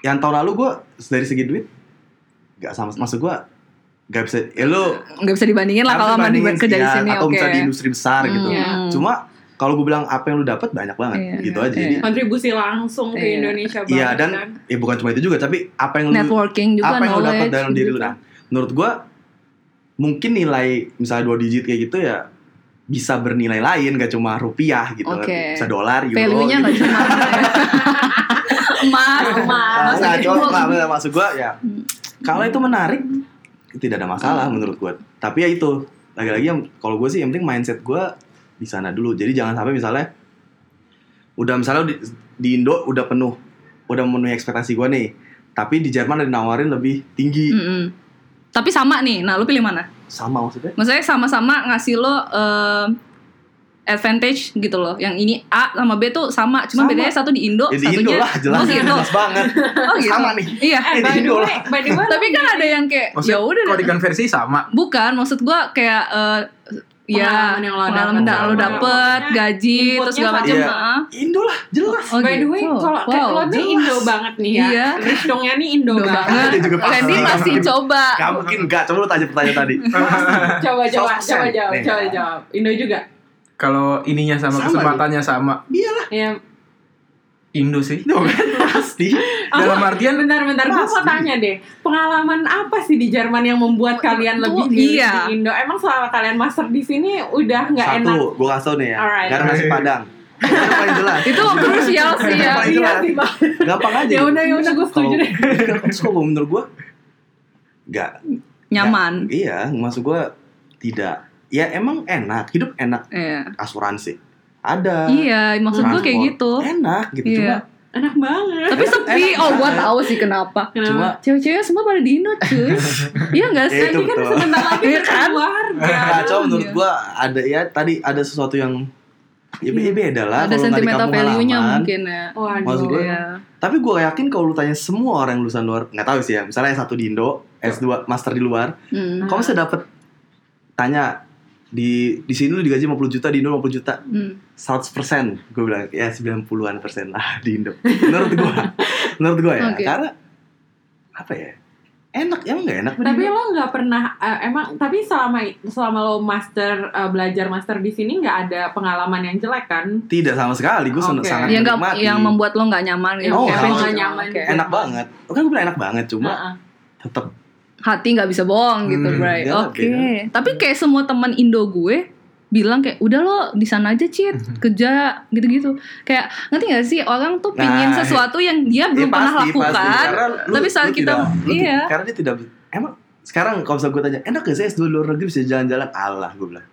E: yang tahun lalu gue dari segi duit nggak sama maksud gue nggak bisa ya lu
A: Nggak bisa dibandingin lah
E: harus
A: kalau sama di
E: bandingin
A: kerja di
E: sekian,
A: sini
E: iya, atau
A: Oke
E: bisa di industri besar gitu.
A: Hmm.
B: Iya.
E: Cuma kalau gue bilang apa yang lu dapat banyak banget
A: Iya,
E: gitu
A: iya,
E: aja. Jadi
A: iya.
B: kontribusi langsung ke
A: Iya.
B: Indonesia banget.
E: iya dan
B: kan.
E: ya bukan cuma itu juga tapi apa yang lu
A: Networking juga
E: apa yang lu dapat
A: knowledge
E: dalam diri lu
A: gitu.
E: nah menurut gua mungkin nilai misalnya dua digit kayak gitu ya bisa bernilai lain gak cuma rupiah gitu kan.
A: Oke.
E: bisa dolar euro
A: value-nya
E: gitu.
A: nggak cuma ya. emas
E: Nah,
A: emas
E: nggak,
A: ada
E: cuma-
A: gold.
E: nggak, nggak, maksud gua ya
A: Hmm.
E: kalau itu menarik tidak ada masalah menurut gua tapi ya itu lagi-lagi yang kalau gue sih yang penting mindset gua di sana dulu jadi jangan sampai misalnya udah misalnya di, di Indo udah penuh udah memenuhi ekspektasi gua nih tapi di Jerman ada yang nawarin lebih tinggi
A: Mm-mm. tapi sama nih nah lu pilih mana
E: sama maksudnya
A: maksudnya sama-sama ngasih lo em, advantage gitu loh yang ini A sama B tuh sama cuma
E: Sama.
A: bedanya satu di Indo
E: ya di
A: satunya
E: Indo lah jelas
A: oh gitu
E: jelas banget
A: oh gitu
E: sama nih
A: iya
B: Eh,
E: Ini
B: by the
E: Indo
B: way, by the way,
A: tapi kan ada yang kayak
D: Maksudnya
A: ya udah
D: kalau dikonversi sama
A: bukan maksud gua kayak eh, ya
B: Pengalaman yang lo
A: pengalaman
B: dapet.
A: da- lo dapet
B: Maksudnya
A: gaji
B: inputnya
A: terus segala macam
E: sama. Iya. Indo lah jelas
B: By the way, kalau kayak lo nih Indo banget nih ya.
A: Iya.
B: Ristongnya nih Indo, banget.
A: banget
E: Dia juga pasti.
A: Randy masih coba
E: Gak mungkin gak Coba lu tanya pertanyaan tadi
B: Coba coba,
E: Soft
B: coba
E: send.
B: jawab,
E: Nih. ya.
B: coba jawab. Indo juga.
D: kalau ininya sama,
E: Sama
D: kesempatannya sama
E: Iyalah
B: Ya.
D: Indo sih.
E: Itu kan pasti
D: Dalam artian
B: bentar-bentar gue mau
E: Pasti.
B: tanya deh, pengalaman apa sih di Jerman yang membuat kalian
A: itu
B: lebih milih
A: iya.
B: di Indo? Emang selama kalian master di sini udah nggak enak?
E: Satu Gue kasih tau nih ya
B: Alright.
E: Karena nasi padang Itu paling jelas
A: itu krusial sih ya
E: Paling
B: Iya
E: jelas.
B: sih, Bang.
E: Gampang aja gitu.
B: Ya udah, ya udah, gue setuju deh.
E: Kalau- Terus kalau menurut gue Gak
A: nyaman
E: Iya Maksud gue Tidak Ya emang enak Hidup enak
A: Iya.
E: Asuransi Ada
A: Iya, maksud gue kayak
E: Transport.
A: gitu.
E: Enak gitu
A: Iya.
B: Enak banget.
A: Tapi sepi.
B: Eh,
E: enak
A: Oh, gua
E: banget.
A: tahu sih kenapa.
E: Cuma Cuma
B: Kenapa?
A: Cewek-cewek semua pada di Indo, cuy. Iya enggak
E: Ya,
A: sih?
E: itu
B: Ini kan
E: betul.
B: sebentar lagi
A: Iya kan?
B: berkeluarga.
E: Nah, cuma menurut
A: Iya.
E: gua ada ya tadi ada sesuatu yang ya, be- beda lah
A: Ada
E: kalau nggak di
A: sentimental
E: kampung
A: value-nya
E: halaman.
A: mungkin ya.
B: Waduh.
E: Maksud gue-
A: Iya.
E: Tapi gua yakin kalau lu tanya semua orang yang lulusan luar, nggak tahu sih ya. Misalnya S1 di Indo, S2 master di luar,
A: Hmm.
E: kamu bisa dapet tanya di di sini lu digaji 50 juta, di Indo 50 juta.
A: Hmm.
E: 100 persen gue bilang ya 90-an persen lah di Indo menurut gue menurut gue ya
A: Oke.
E: karena apa ya enak emang nggak enak
B: Tapi lo nggak pernah eh, emang tapi selama selama lo master eh, belajar master di sini nggak ada pengalaman yang jelek kan?
E: tidak sama sekali gue
B: Oke.
E: sen- sangat
A: Yang enggak
E: menikmati
A: Iya yang membuat lo enggak nyaman gitu. Kayak
E: Oh, nggak
A: friendship.
B: nyaman.
A: Oke.
E: enak banget kan gue bilang enak banget cuma
A: Nah.
B: Heeh.
E: tetap
A: Hati nggak bisa bohong gitu,
D: Hmm,
A: Bray.
E: beda,
A: Oke. Tapi kayak semua teman Indo gue bilang kayak udah lo di sana aja cit
E: Hmm.
A: kerja gitu-gitu kayak ngerti nggak sih orang tuh pingin
E: Nah,
A: sesuatu yang dia belum
E: Ya,
A: pernah lakukan
E: Karena lu-
A: tapi saat
E: lu
A: kita-
E: tidak- lu
A: iya.
E: tidak- karena dia tidak emang sekarang kalau misalnya gue tanya enak gak sih S2 luar negeri bisa jalan-jalan Allah gue bilang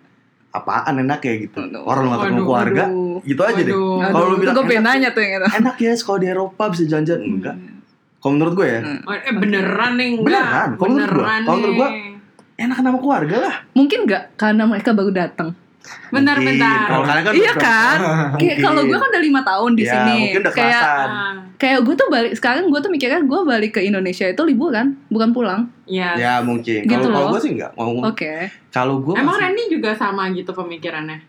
E: apaan enak ya gitu
A: Aduh.
E: orang lu gak ketemu
B: Waduh,
E: keluarga
A: Aduh.
E: gitu aja deh
B: Waduh.
E: Kalau lu
A: Aduh,
E: bilang
A: gue pengen
E: enak-
A: nanya tuh yang itu.
E: enak ya kalau di Eropa bisa jalan-jalan enggak kalau menurut gue ya
A: Hmm.
B: Eh beneran nih enggak?
E: Beneran. Kalau menurut gua-
B: Beneran
E: kalau menurut gua-
B: nih.
E: enak nama keluarga lah
A: Mungkin nggak karena mereka baru datang.
B: Bentar,
E: Mungkin.
B: bentar.
E: Kalau kalian kan
A: iya
E: udah-
A: kan? Kayak
E: Mungkin.
A: kalau gue kan udah lima tahun di
E: Ya,
A: sini.
E: mungkin udah
A: kayak
E: kelasan.
B: Ah,
A: kayak gue tuh balik sekarang gue tuh mikirnya gue balik ke Indonesia itu liburan, bukan pulang.
B: ya.
E: ya mungkin
A: Gitu
E: kalau kalau
A: loh.
E: gue sih enggak mau
A: Oke.
E: kalau gue
B: Emang
E: masih-
B: Randy juga sama gitu pemikirannya?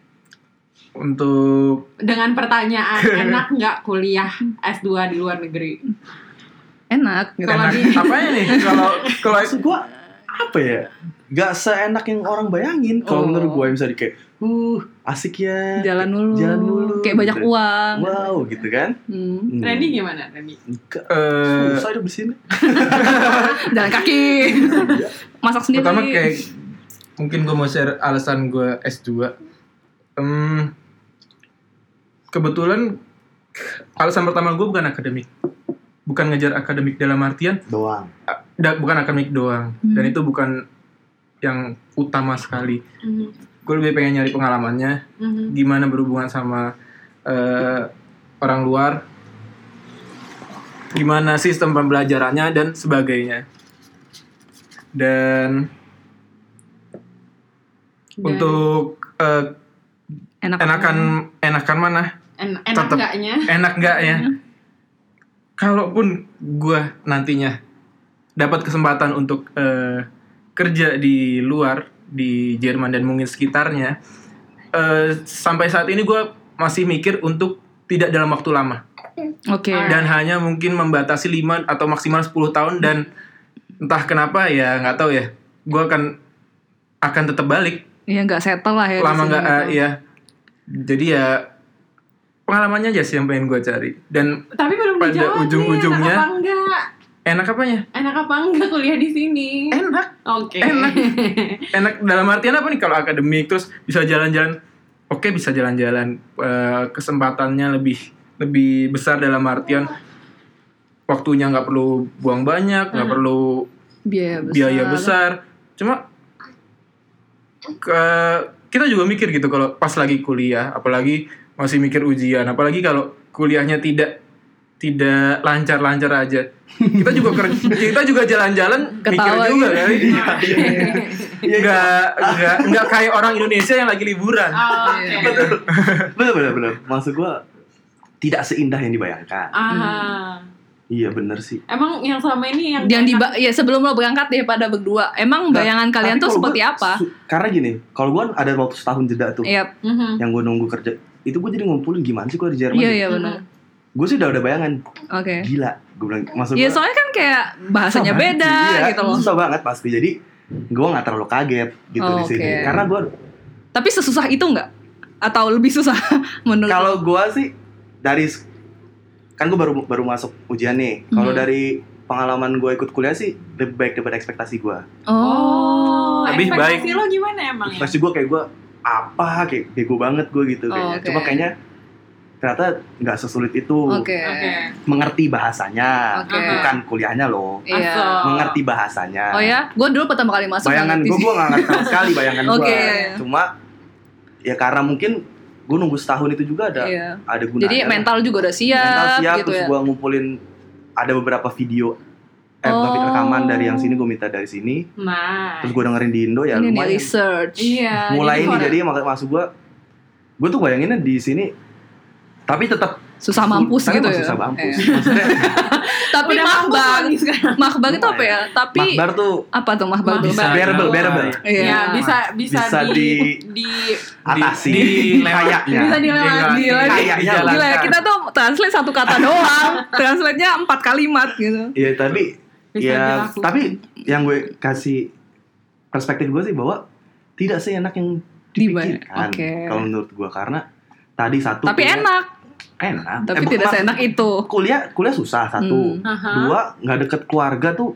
D: untuk
B: Dengan pertanyaan enak nggak kuliah S2 di luar negeri?
D: Hmm.
A: Enak gitu.
B: Kalau
D: enak
B: di-
D: apa nih kalau kalau
E: maksud gue apa ya Gak seenak yang orang bayangin kalau
A: Oh.
E: menurut gue misalnya kayak uh asik ya
A: Jalan dulu.
E: Jalan dulu.
A: Kayak banyak
E: Gitu.
A: uang.
E: wow gitu kan
A: Hmm.
E: Hmm.
B: Randy gimana? Randy?
E: Enggak.
D: eh,
E: Susah hidup di sini.
A: Jalan kaki. Masak sendiri.
D: pertama kayak mungkin gue mau share alasan gue S2 Em, kebetulan alasan pertama gue bukan akademik bukan ngejar akademik dalam artian
E: Doang.
D: a- da- bukan akademik doang
A: Hmm.
D: dan itu bukan yang utama sekali
A: Mm-hmm.
B: Mhm,
D: gue lebih pengen nyari pengalamannya
B: mhm.
D: gimana berhubungan sama eh, orang luar, gimana sistem pembelajarannya dan sebagainya. Dan untuk eh,
A: enak.
D: Iya. enakan enakan mana?
B: En- enak
D: tetep-
B: enggaknya?
D: Enak nggak ya? Kalaupun gua nantinya dapat kesempatan untuk eh, kerja di luar di Jerman dan mungkin sekitarnya, eh, sampai saat ini gua masih mikir untuk tidak dalam waktu lama.
A: Oke.
D: dan hanya mungkin membatasi 5 atau maksimal 10 tahun dan entah kenapa ya nggak tahu ya gue akan akan tetap balik
A: Iya nggak settle lah ya. di
D: lama
A: sini
D: nggak
A: gitu.
D: eh,
E: iya.
D: ya jadi ya pengalamannya aja sih yang pengen gue cari dan
B: Tapi belum
D: Pada
B: dijawab nih,
D: ujung-ujungnya-
B: enak apa enggak?
D: Enak apanya?
B: Enak apa enggak kuliah di sini?
D: Enak.
B: Oke.
D: Enak. Enak dalam artian apa nih kalau akademik terus bisa jalan-jalan. Oke, bisa jalan-jalan Eh, kesempatannya lebih lebih besar dalam artian
A: Oh.
D: waktunya nggak perlu buang banyak, nggak perlu
A: biaya besar.
D: biaya besar. Cuma ke- kita juga mikir gitu kalau pas lagi kuliah, apalagi masih mikir ujian, apalagi kalau kuliahnya tidak tidak lancar-lancar aja. Kita juga ker- kita juga jalan-jalan mikir
A: Ketawa
D: juga
A: gitu.
D: kan.
E: Iya,
D: Enggak enggak enggak kayak orang Indonesia yang lagi liburan.
B: Oh,
A: Iya,
B: Oke.
E: bener bener bener maksud gua tidak seindah yang dibayangkan
B: Ah.
D: Hmm.
E: iya bener sih
B: Emang yang selama ini yang
A: Yang di ya sebelum lo berangkat deh pada berdua. Emang
E: Nah,
A: bayangan kalian
E: Tapi
A: tuh
E: kalau
A: seperti
E: gua
A: apa?
E: su- karena gini kalau gua ada waktu setahun jeda tuh
A: Iya,
B: Mhm.
E: yang gua nunggu kerja itu gua jadi ngumpulin gimana sih gua di Jerman
A: iya
E: ya?
A: iya benar.
B: Mhm.
E: Gua sih udah udah bayangan
A: Oke.
E: gila gua bilang maksud
A: Iya
E: gua,
A: soalnya kan kayak bahasanya
E: Susah
A: beda
E: banget sih, iya.
A: gitu loh.
E: Susah banget pasti. Jadi gue nggak terlalu kaget gitu
A: Oh,
E: di sini.
A: oke.
E: Karena gue
A: Tapi sesusah itu nggak? Atau lebih susah menurut?
E: kalau gue sih dari kan gue baru baru masuk ujian nih. Kalau
A: Mhm.
E: dari pengalaman gue ikut kuliah sih lebih baik daripada ekspektasi gue.
A: Oh.
B: Oh,
D: Lebih
B: ekspektasi
D: baik.
B: lo gimana emang ya?
E: Ekspektasi gue kayak gue apa kayak bego banget gue gitu
A: iya. Oh,
E: kayaknya.
A: oke.
E: Cuma kayaknya ternyata nggak sesulit itu
A: Oke.
B: Oke.
E: mengerti bahasanya
A: Oke.
E: bukan kuliahnya loh
A: Iya.
B: Asal.
E: mengerti bahasanya
A: Oh ya, gue dulu pertama kali masuk
E: bayangan
A: nggak
E: gue
A: ngerti
E: gue nggak ngerti sama sekali bayangan gue
A: Oke.
E: cuma ya karena mungkin gue nunggu setahun itu juga
A: sih.
E: ada
A: Iya.
E: ada gunanya
A: Jadi
E: lah.
A: mental juga udah siap,
E: mental siap
A: gitu
E: terus
A: ya.
E: gue ngumpulin ada beberapa video eh bukan video
A: Oh.
E: rekaman dari yang sini gue minta dari sini
B: Nah.
E: terus gue dengerin di Indo ya
A: Ini nih
E: lumayan
A: research.
B: Iya.
E: mulai ini
B: orang-
E: jadi mak- maksud gue gue tuh bayanginnya di sini tapi tetap
A: Susah mampus
E: tapi
A: gitu
E: emang
A: ya.
E: susah mampus
A: Iya.
E: Maksudnya,
A: Tapi
B: Udah mampus
A: mahbang.
B: lagi sekarang.
A: Mahbang itu apa ya? Tapi
E: makbar tuh
A: apa tuh mahbang? tuh?
B: Mahbang.
E: bearable bearable
A: Iya.
B: Ya, bisa bisa,
E: Bisa
B: di,
E: di-
B: di,
E: atas sih
D: dilewatnya.
E: Bisa
A: dilewati.
D: Dilewati,
E: Ah, Kayaknya.
D: dijalankan.
A: Gila ya, kita tuh translate satu kata doang. Translate-nya empat kalimat gitu.
E: Iya tapi
B: Bisa
E: ya
B: dilakukan.
E: tapi yang gue kasih perspektif gue sih bahwa tidak seenak yang
A: Dibayar.
E: dipikirkan
A: Oke.
E: kalau menurut gue karena tadi satu
A: Tapi
E: kuliah-
A: enak,
E: enak
A: tapi
E: ya. Emang-
A: tidak
E: mak-
A: seenak itu.
E: kuliah kuliah susah satu
A: Hmm.
B: Aha.
E: dua nggak deket keluarga tuh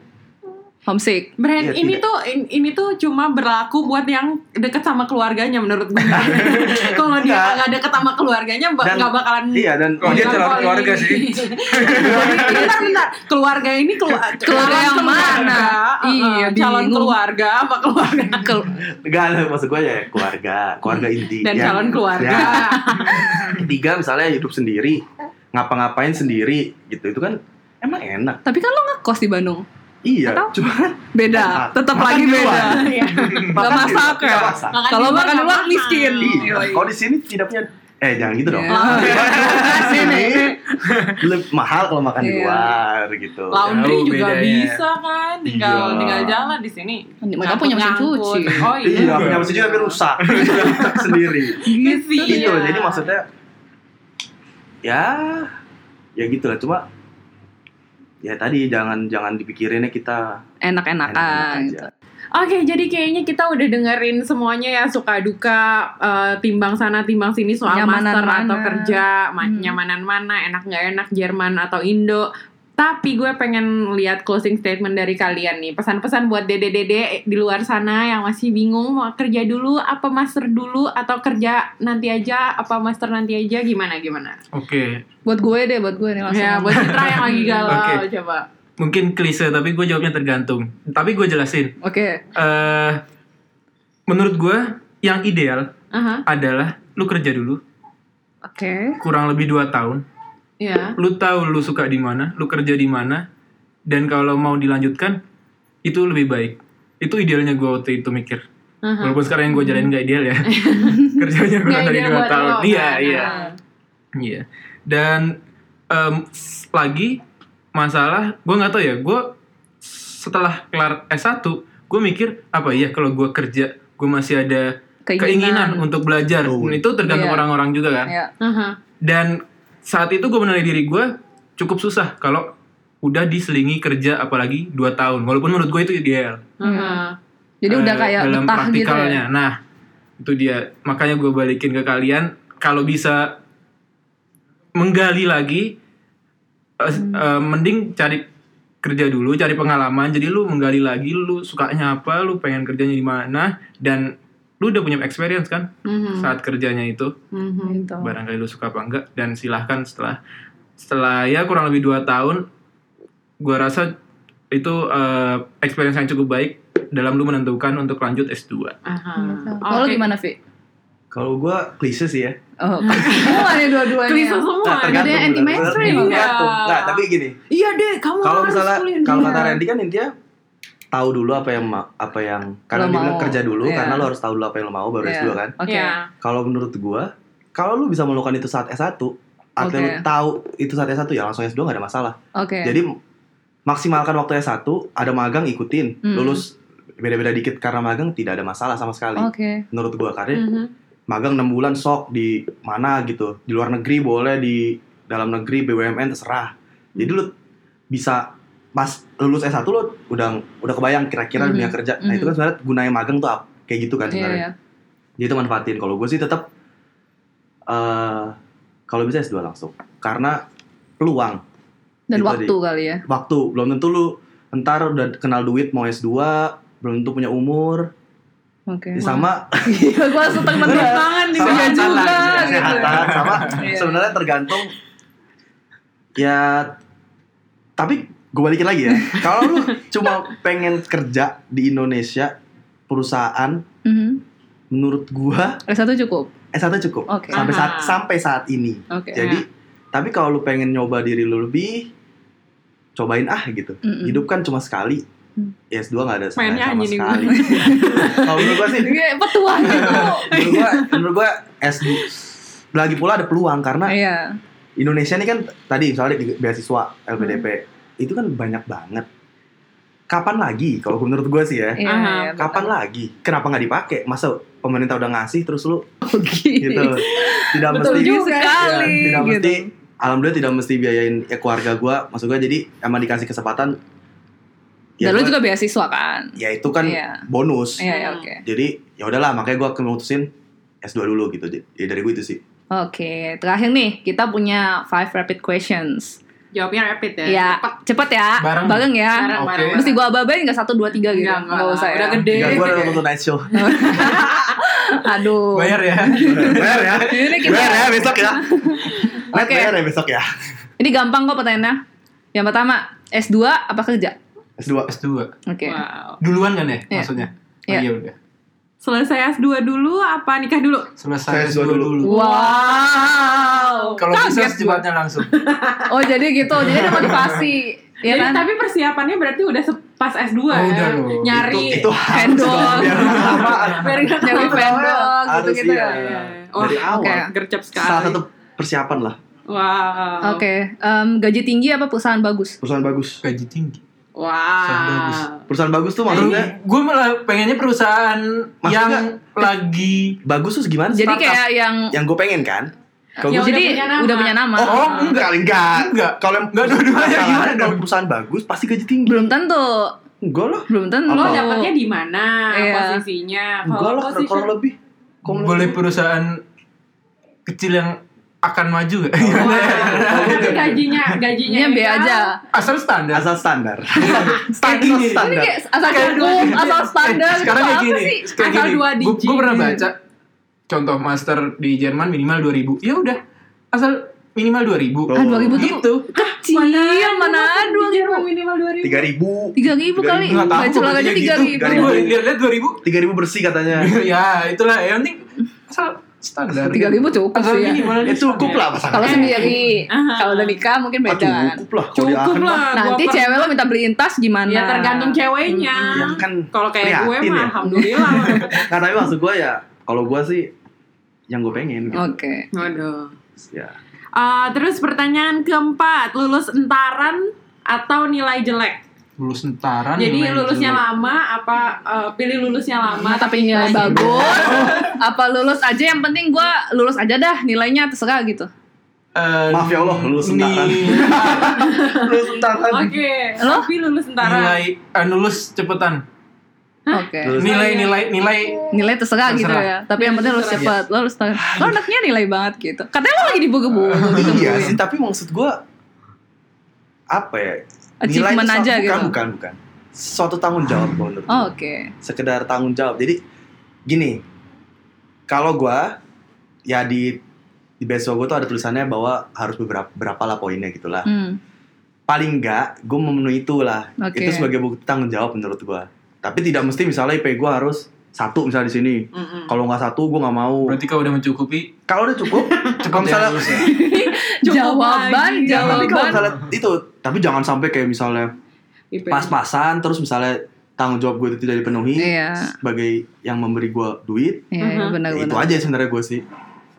A: Homesick.
B: Brand
E: Iya,
B: ini
E: tidak.
B: tuh in- ini tuh cuma berlaku buat yang deket sama keluarganya menurut gue. Kalau dia
E: Enggak.
B: nggak deket sama keluarganya ba-
E: Dan-
B: nggak bakalan.
E: iya dan
D: Kalau dia terlalu keluarga sih.
B: bentar bentar. Keluarga ini kelu-
A: Keluarga yang
B: calon keluarga,
A: mana?
B: eh, eh,
A: Iya,
B: calon
A: bingung.
B: keluarga sama keluarga
A: Kel-
E: nggak lah, maksud gue ya keluarga keluarga inti
B: dan
E: Ya.
B: calon keluarga.
E: Ya, ketiga misalnya hidup sendiri ngapa-ngapain sendiri gitu itu kan emang enak
A: tapi kan lo ngekos di Bandung.
E: iya
A: Atau-
E: cuma
A: Beda,
E: Enak.
A: tetap
E: Ah, Makan
A: lagi
E: di
A: beda.
E: luar. Gitu
B: Iya.
A: Gak masak ya.
B: Makan
A: Kalau makan
B: di luar
A: di
B: nggak
A: luar
B: mahal.
A: miskin.
E: Iya. Kalau di sini tidak punya eh jangan gitu dong.
A: Iya.
E: Sini lebih mahal kalau makan di
A: Iya.
E: luar gitu.
B: Laundry
D: Jauh
B: juga
D: bedanya.
B: bisa kan, tinggal
E: Iya.
B: tinggal jalan di sini.
A: Mereka punya mesin
B: Ngangkut-ngangkut.
A: cuci.
B: Oh iya.
E: Iya, punya mesin juga tapi rusak. Punya rusak sendiri.
A: Gitu.
B: Iya.
E: Gitu. Jadi maksudnya ya ya gitu lah cuma ya tadi jangan jangan dipikirinnya kita
A: Enak-enakan.
E: enak-enak
A: gitu.
E: aja.
B: Oke, jadi kayaknya kita udah dengerin semuanya ya suka duka eh, timbang sana timbang sini soal
A: Nyamanan
B: master
A: mana.
B: atau kerja, ma-
A: Hmm.
B: nyamanan mana, enak nggak enak Jerman atau Indo. Tapi gue pengen lihat closing statement dari kalian nih. Pesan-pesan buat dede-dede di luar sana yang masih bingung mau kerja dulu apa master dulu atau kerja nanti aja apa master nanti aja gimana gimana.
D: Oke,
A: Buat gue deh, buat gue nih langsung.
B: Ya, buat Citra yang lagi galau
D: Oke.
B: coba.
D: mungkin klise tapi gue jawabnya tergantung. Tapi gue jelasin.
A: Oke.
D: eh menurut gue yang ideal
B: Aha,
D: adalah lu kerja dulu
A: Oke.
D: kurang lebih 2 tahun.
B: ya.
D: Lu tahu lu suka di mana, lu kerja di mana dan kalau mau dilanjutkan itu lebih baik. Itu idealnya gue waktu itu mikir.
B: Aha. Hmm.
D: Walaupun sekarang yang gue jalanin gak ideal ya. Kerjanya kurang
B: Nggak
D: dari
B: ideal
D: 2
B: buat
D: tahun.
B: lo,
D: Iya,
B: kan?
D: iya. Iya. Dan em, s- lagi masalah gue nggak tahu ya. Gue setelah kelar S1 gue mikir apa ya kalau gue kerja gue masih ada keinginan, untuk belajar
E: Oh.
D: itu tergantung
A: Iya.
D: orang-orang juga kan
A: Ya.
B: Aha.
D: dan saat itu gue menilai diri gue cukup susah kalau udah diselingi kerja apalagi 2 tahun walaupun menurut gue itu ideal
B: Aha.
A: Jadi
D: Eh,
A: udah kayak betah
D: dalam
A: gitu ya.
D: praktikalnya nah itu dia makanya gue balikin ke kalian kalau bisa
A: Hmm.
D: menggali lagi eh, eh, mending cari kerja dulu cari pengalaman jadi lu menggali lagi lu sukanya apa lu pengen kerjanya di mana dan lu udah punya experience kan
A: Hmm.
B: Mhm.
D: saat kerjanya itu
B: Mhm.
A: Gitu.
D: barangkali lu suka apa enggak dan silahkan setelah setelah ya kurang lebih dua tahun gua rasa itu eh, experience yang cukup baik dalam lu menentukan untuk lanjut S2
B: Aha.
A: Gitu.
B: Oh, Oke.
A: Kalau lu gimana, Vi?
E: Kalau gue klise sih ya.
A: Oh, semua nih dua-duanya. Ya.
B: Klise semua.
E: Nah,
A: tergantung. Ada anti mainstream.
E: Tergantung.
B: Iya.
A: ya.
E: Nah, tapi gini,
B: Iya deh, kamu
E: kalau
B: harus
E: misalnya
B: kuliah
E: kalau
B: dia.
E: kata Randy kan intinya tahu dulu apa yang ma- apa yang karena
A: Lo
E: dia bilang
A: mau.
E: kerja dulu
A: Iya.
E: karena lo harus tahu dulu apa yang lo mau baru
A: Iya.
E: S2 kan.
A: Oke.
B: Iya.
E: Kalau menurut gua, kalau lu bisa melakukan itu saat S1, atau
A: Oke. Iya.
E: lu tahu itu saat S1 ya langsung S2 gak ada masalah.
A: Oke.
E: Jadi maksimalkan waktu S1, ada magang ikutin,
A: Hmm.
E: lulus beda-beda dikit karena magang tidak ada masalah sama sekali.
A: Oke.
E: Menurut gua karena
B: Mhm.
E: magang 6 bulan sok di mana gitu di luar negeri boleh di dalam negeri BUMN terserah jadi lu bisa pas lulus S1 lu udah udah kebayang
A: Mhm.
E: kira-kira dunia kerja nah itu kan sebenarnya gunanya magang tuh apa kayak gitu kan
A: Iya,
E: sebenarnya
A: iya.
E: jadi itu manfaatin kalau gue sih tetap eh kalau bisa S2 langsung karena peluang
A: Dan
E: Itu
A: waktu kali ya.
E: waktu belum tentu lu ntar udah kenal duit mau S2 belum tentu punya umur Ya
A: Oke.
E: sama
A: Iya, gua langsung tangan
E: Bener.
A: tangan nih
E: Sama
A: iya
E: kesehatan
A: juga.
E: lah,
A: gitu.
E: kesehatan sama
A: Iya.
E: sebenarnya tergantung ya tapi gue balikin lagi ya kalau lu cuma pengen kerja di Indonesia perusahaan
A: Mhm.
E: menurut gua
A: S1 cukup.
E: S1 cukup
A: Oke.
E: sampai saat
B: Aha.
E: sampai saat ini
A: Oh. Oke.
E: jadi tapi kalau lu pengen nyoba diri lu lebih cobain ah gitu
A: Mm-mm.
E: hidup kan cuma sekali
A: Hmm.
E: S2 gak ada salahnya
B: Mainnya
E: sama
B: anjing nih gue.
E: sekali kalau menurut gua sih
A: Iya, petua gitu.
E: menurut gua menurut gua S2 lagi pula ada peluang karena
A: Iya.
E: Indonesia ini kan tadi misalnya di beasiswa LPDP
A: Hmm.
E: itu kan banyak banget. Kapan lagi kalau menurut gue sih ya?
A: Iya.
B: Aha.
A: iya, betul.
E: Kapan lagi? Kenapa nggak dipakai? Masa pemerintah udah ngasih terus lu
A: Oke.
E: gitu? Tidak
A: Oh, Betul
E: mesti Iya,
A: juga sekali.
E: tidak
A: gitu.
E: mesti. Alhamdulillah tidak mesti biayain ya, keluarga gue. Maksud gue jadi emang dikasih kesempatan. ya
A: Dan lu
E: gua-
A: juga beasiswa kan?
E: ya itu kan
A: Iya.
E: bonus.
A: Iya,
B: Hmm.
A: iya, oke.
E: Jadi ya udahlah makanya gue kemutusin S2 dulu gitu. Jadi, Ya dari gue itu sih.
A: Oke, terakhir nih kita punya five rapid questions.
B: Jawabnya rapid ya.
A: Ya,
B: Cepet.
A: cepet ya,
D: Bareng.
A: bareng ya.
B: Bareng,
D: Oke.
B: bareng,
A: Mesti gua ababain nggak satu dua tiga gitu?
B: Enggak, enggak.
A: Nggak usah ya.
B: Udah gede.
E: Enggak gue udah nonton night show.
A: Aduh.
D: bayar ya
E: Bener ya.
A: Iya, Ini kita.
E: Bener ya besok ya. Net
A: Oke.
E: bener ya besok ya.
A: Ini gampang kok pertanyaannya. Yang pertama, S2 apa kerja?
E: S2.
D: S2
A: Oke.
B: Wow.
D: duluan kan ya
A: Iya.
D: maksudnya Oh,
A: Iya.
D: iya udah
B: Selesai S2 dulu apa nikah dulu?
E: Saya
D: selesai S2
E: dulu.
D: dulu
A: Wow.
D: kalau bisa
A: Kaget
D: secepatnya langsung
A: gua. Oh, jadi gitu. Jadi ada motivasi. ya
B: Jadi
A: kan?
B: tapi persiapannya berarti udah se- pas S2
D: Oh,
B: ya.
D: udah loh.
B: Nyari Oh.
E: Itu, itu harus
A: Vendor.
E: dong, biar kelamaan.
B: Biar nggak
A: Nyari
B: kelamaan.
A: vendor
E: Harus,
A: gitu-gitu
E: iya.
A: ya.
B: Iya.
E: Dari
B: Wah,
E: awal.
A: oke.
B: gercep sekali.
E: Salah satu persiapan lah.
B: Wow.
A: Oke, em, gaji tinggi apa perusahaan bagus?
E: Perusahaan bagus.
D: gaji tinggi Sangat bagus.
B: Wow.
E: Perusahaan bagus tuh maksudnya
D: gue Iya. malah pengennya perusahaan
E: Maksudnya-
D: yang lagi
E: bagus tuh gimana?
A: Jadi
E: Startup.
A: kayak yang, ya,
E: yang gue pengen kan. Kalau
B: Yang
E: gua-
A: jadi
B: udah punya nama.
A: udah punya nama.
E: oh enggak enggak
D: Enggak.
E: Kalau yang
D: Enggak, dua-duanya
E: Masalahnya
D: gimana
E: kalau
D: dong?
E: perusahaan bagus pasti gaji tinggi.
A: Belum tentu.
E: Enggak lah.
A: Belum tentu.
E: Apa?
B: Lo dapetnya Oh, di mana
A: Iya.
B: posisinya?
E: Enggak lah
B: posisi-
E: kalau lebih. Kalau
D: boleh
E: lebih.
D: perusahaan kecil yang akan maju gak?
A: Oh.
B: Wow. Tapi gajinya
E: Iya.
B: gajinya kan
A: Gajinya Iya, B
B: Eka,
A: aja.
D: asal standar
E: asal standar.
D: Kayak
E: asal
D: gini.
A: Ini
E: standar.
A: kayak asal
D: Kayak
A: cukup,
D: gua-
A: asal
D: eh,
A: standar.
D: sekarang
A: itu
D: kayak
A: apa
D: gini
A: sih?
D: kayak
B: Asal dua
D: gue
B: digit.
D: pernah baca contoh master di Jerman minimal 2000 ya udah asal minimal 2000
E: Oh.
A: Ah, 2000 tuh
D: gitu
A: kecil, mana ada
B: dua ribu minimal dua ribu.
E: Tiga ribu.
A: 3000 kali.
E: Nggak tahu,
A: Bachelor aja
E: pokoknya
A: 3000.
E: gitu.
D: gue lihat-lihat 2000
E: Tiga ribu bersih katanya.
D: ya itulah yang penting asal standar
A: 3000 cukup
D: asal
A: sih ya.
D: minimal
E: Ya cukup lah
A: Kalau
E: pasangan.
A: sendiri, kalau udah nikah mungkin
E: Ah,
A: beda kan.
E: Cukup lah. Kalau
B: Cukup
E: diakan mah.
B: lah.
A: Nah, Nanti
B: gua per-
A: cewek lo minta beliin tas gimana?
B: Ya tergantung ceweknya.
E: Ya kan
B: Kalau kayak gue
E: prihatin
B: mah
E: ya.
B: alhamdulillah. lo dapet.
E: Nah, tapi maksud gue ya, kalau gue sih yang gue pengen gitu.
A: Oke.
B: Waduh.
E: Ya.
B: Eh, terus pertanyaan keempat, lulus entaran atau nilai jelek?
D: lulus tentara
B: Jadi lulusnya lama apa eh, pilih lulusnya lama
A: Tapi nilai Nah, bagus. Apa lulus aja yang penting gua lulus aja dah nilainya terserah gitu.
D: Eh,
E: Maaf ya Allah, lulus tentara. Lu sebentar kan.
B: Oke,
A: Lo?
B: tapi lulus entaran.
D: nilai eh, lulus cepetan
A: Oke.
E: Lulus.
D: nilai nilai nilai
A: Nilai terserah gitu
D: Terserah.
A: ya. Tapi yang penting lulus cepet,
B: Terserah.
A: lulus cepet.
E: Iya.
A: Lo anaknya nilai banget gitu. Katanya lo lagi diburu-buru gitu.
E: Iya
A: Bu, ya.
E: sih, tapi maksud gue apa ya? Nilai itu
A: achievement
E: suatu-
A: aja
E: bukan,
A: gitu.
E: Bukan, bukan. Suatu tanggung jawab kalau menurut
A: Oh,
E: gua.
A: Oke.
E: Sekedar tanggung jawab. Jadi gini, kalau gua ya di di besok gua tuh ada tulisannya bahwa harus beberapa berapa lah poinnya gitulah.
A: Hmm,
E: Paling enggak gua memenuhi itulah.
A: Oke.
E: Itu sebagai bukti tanggung jawab menurut gua. Tapi tidak mesti misalnya IP gua harus satu misalnya di sini.
B: Mm-mm.
E: Kalau nggak satu gua nggak mau.
D: Berarti kau udah mencukupi
E: Kalau udah cukup,
D: cukup
E: kalau misalnya Iya,
D: ya, lulus ya.
B: Cukup
A: jawaban,
B: lagi.
E: Ya, tapi kalau
A: jawaban.
E: misalnya itu, tapi jangan sampai kayak misalnya
B: IP.
E: pas-pasan terus misalnya tanggung jawab gue itu tidak dipenuhi
A: Iya.
E: sebagai yang memberi gue duit.
A: Iya, iya,
B: Mhm.
E: ya itu
A: benar-benar.
E: aja sebenarnya gue sih.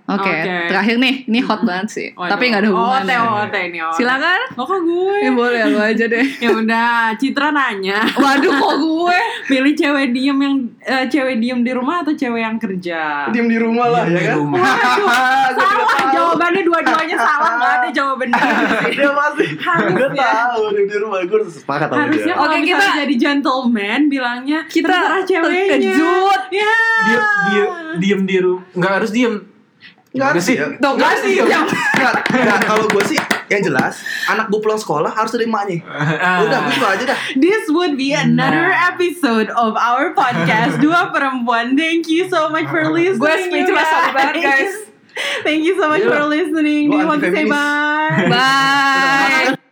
A: Oke,
B: Oke.
A: terakhir nih, ini hot banget sih.
B: Waduh.
A: Tapi nggak ada
B: Oh,
A: hubungannya.
B: Teo, Teo ini. oh.
A: Silakan.
B: Oh, kok gue?
A: Ya boleh lu aja deh.
B: Ya udah, Citra nanya,
A: Waduh, kok gue?
B: pilih cewek diem yang eh, cewek diem di rumah atau cewek yang kerja?
E: Diam di rumah lah
D: Diam
E: ya
D: di
E: kan.
D: rumah.
B: salah jawabannya dua-duanya salah nggak ada jawaban benar
E: Dia pasti gue tahu diam di rumah gue harus sepakat sama
B: harusnya
E: dia.
B: kalau
A: Oke,
B: kita
A: kita-
B: jadi gentleman bilangnya
A: Kita
B: terserah ceweknya
A: terkejut.
B: ya
D: Dia dia diem di rumah. Enggak harus diem.
E: Nggak
D: Gimana
E: harus
D: sih?
E: diem.
A: Tuh kan yang
E: Nggak, nggak, kalau gue sih yang jelas anak gue pulang sekolah harus ada emaknya.
D: Ah.
E: Udah gue itu aja dah.
B: This would be another
D: Nah.
B: episode of our podcast Dua Perempuan. Thank you so much for listening.
A: gue
B: you
A: speechless sama banget guys.
B: Thank you so much
E: Gila.
B: for listening. Do
E: Gua
B: you want to say
E: anti-feminis.
B: bye?
A: Bye.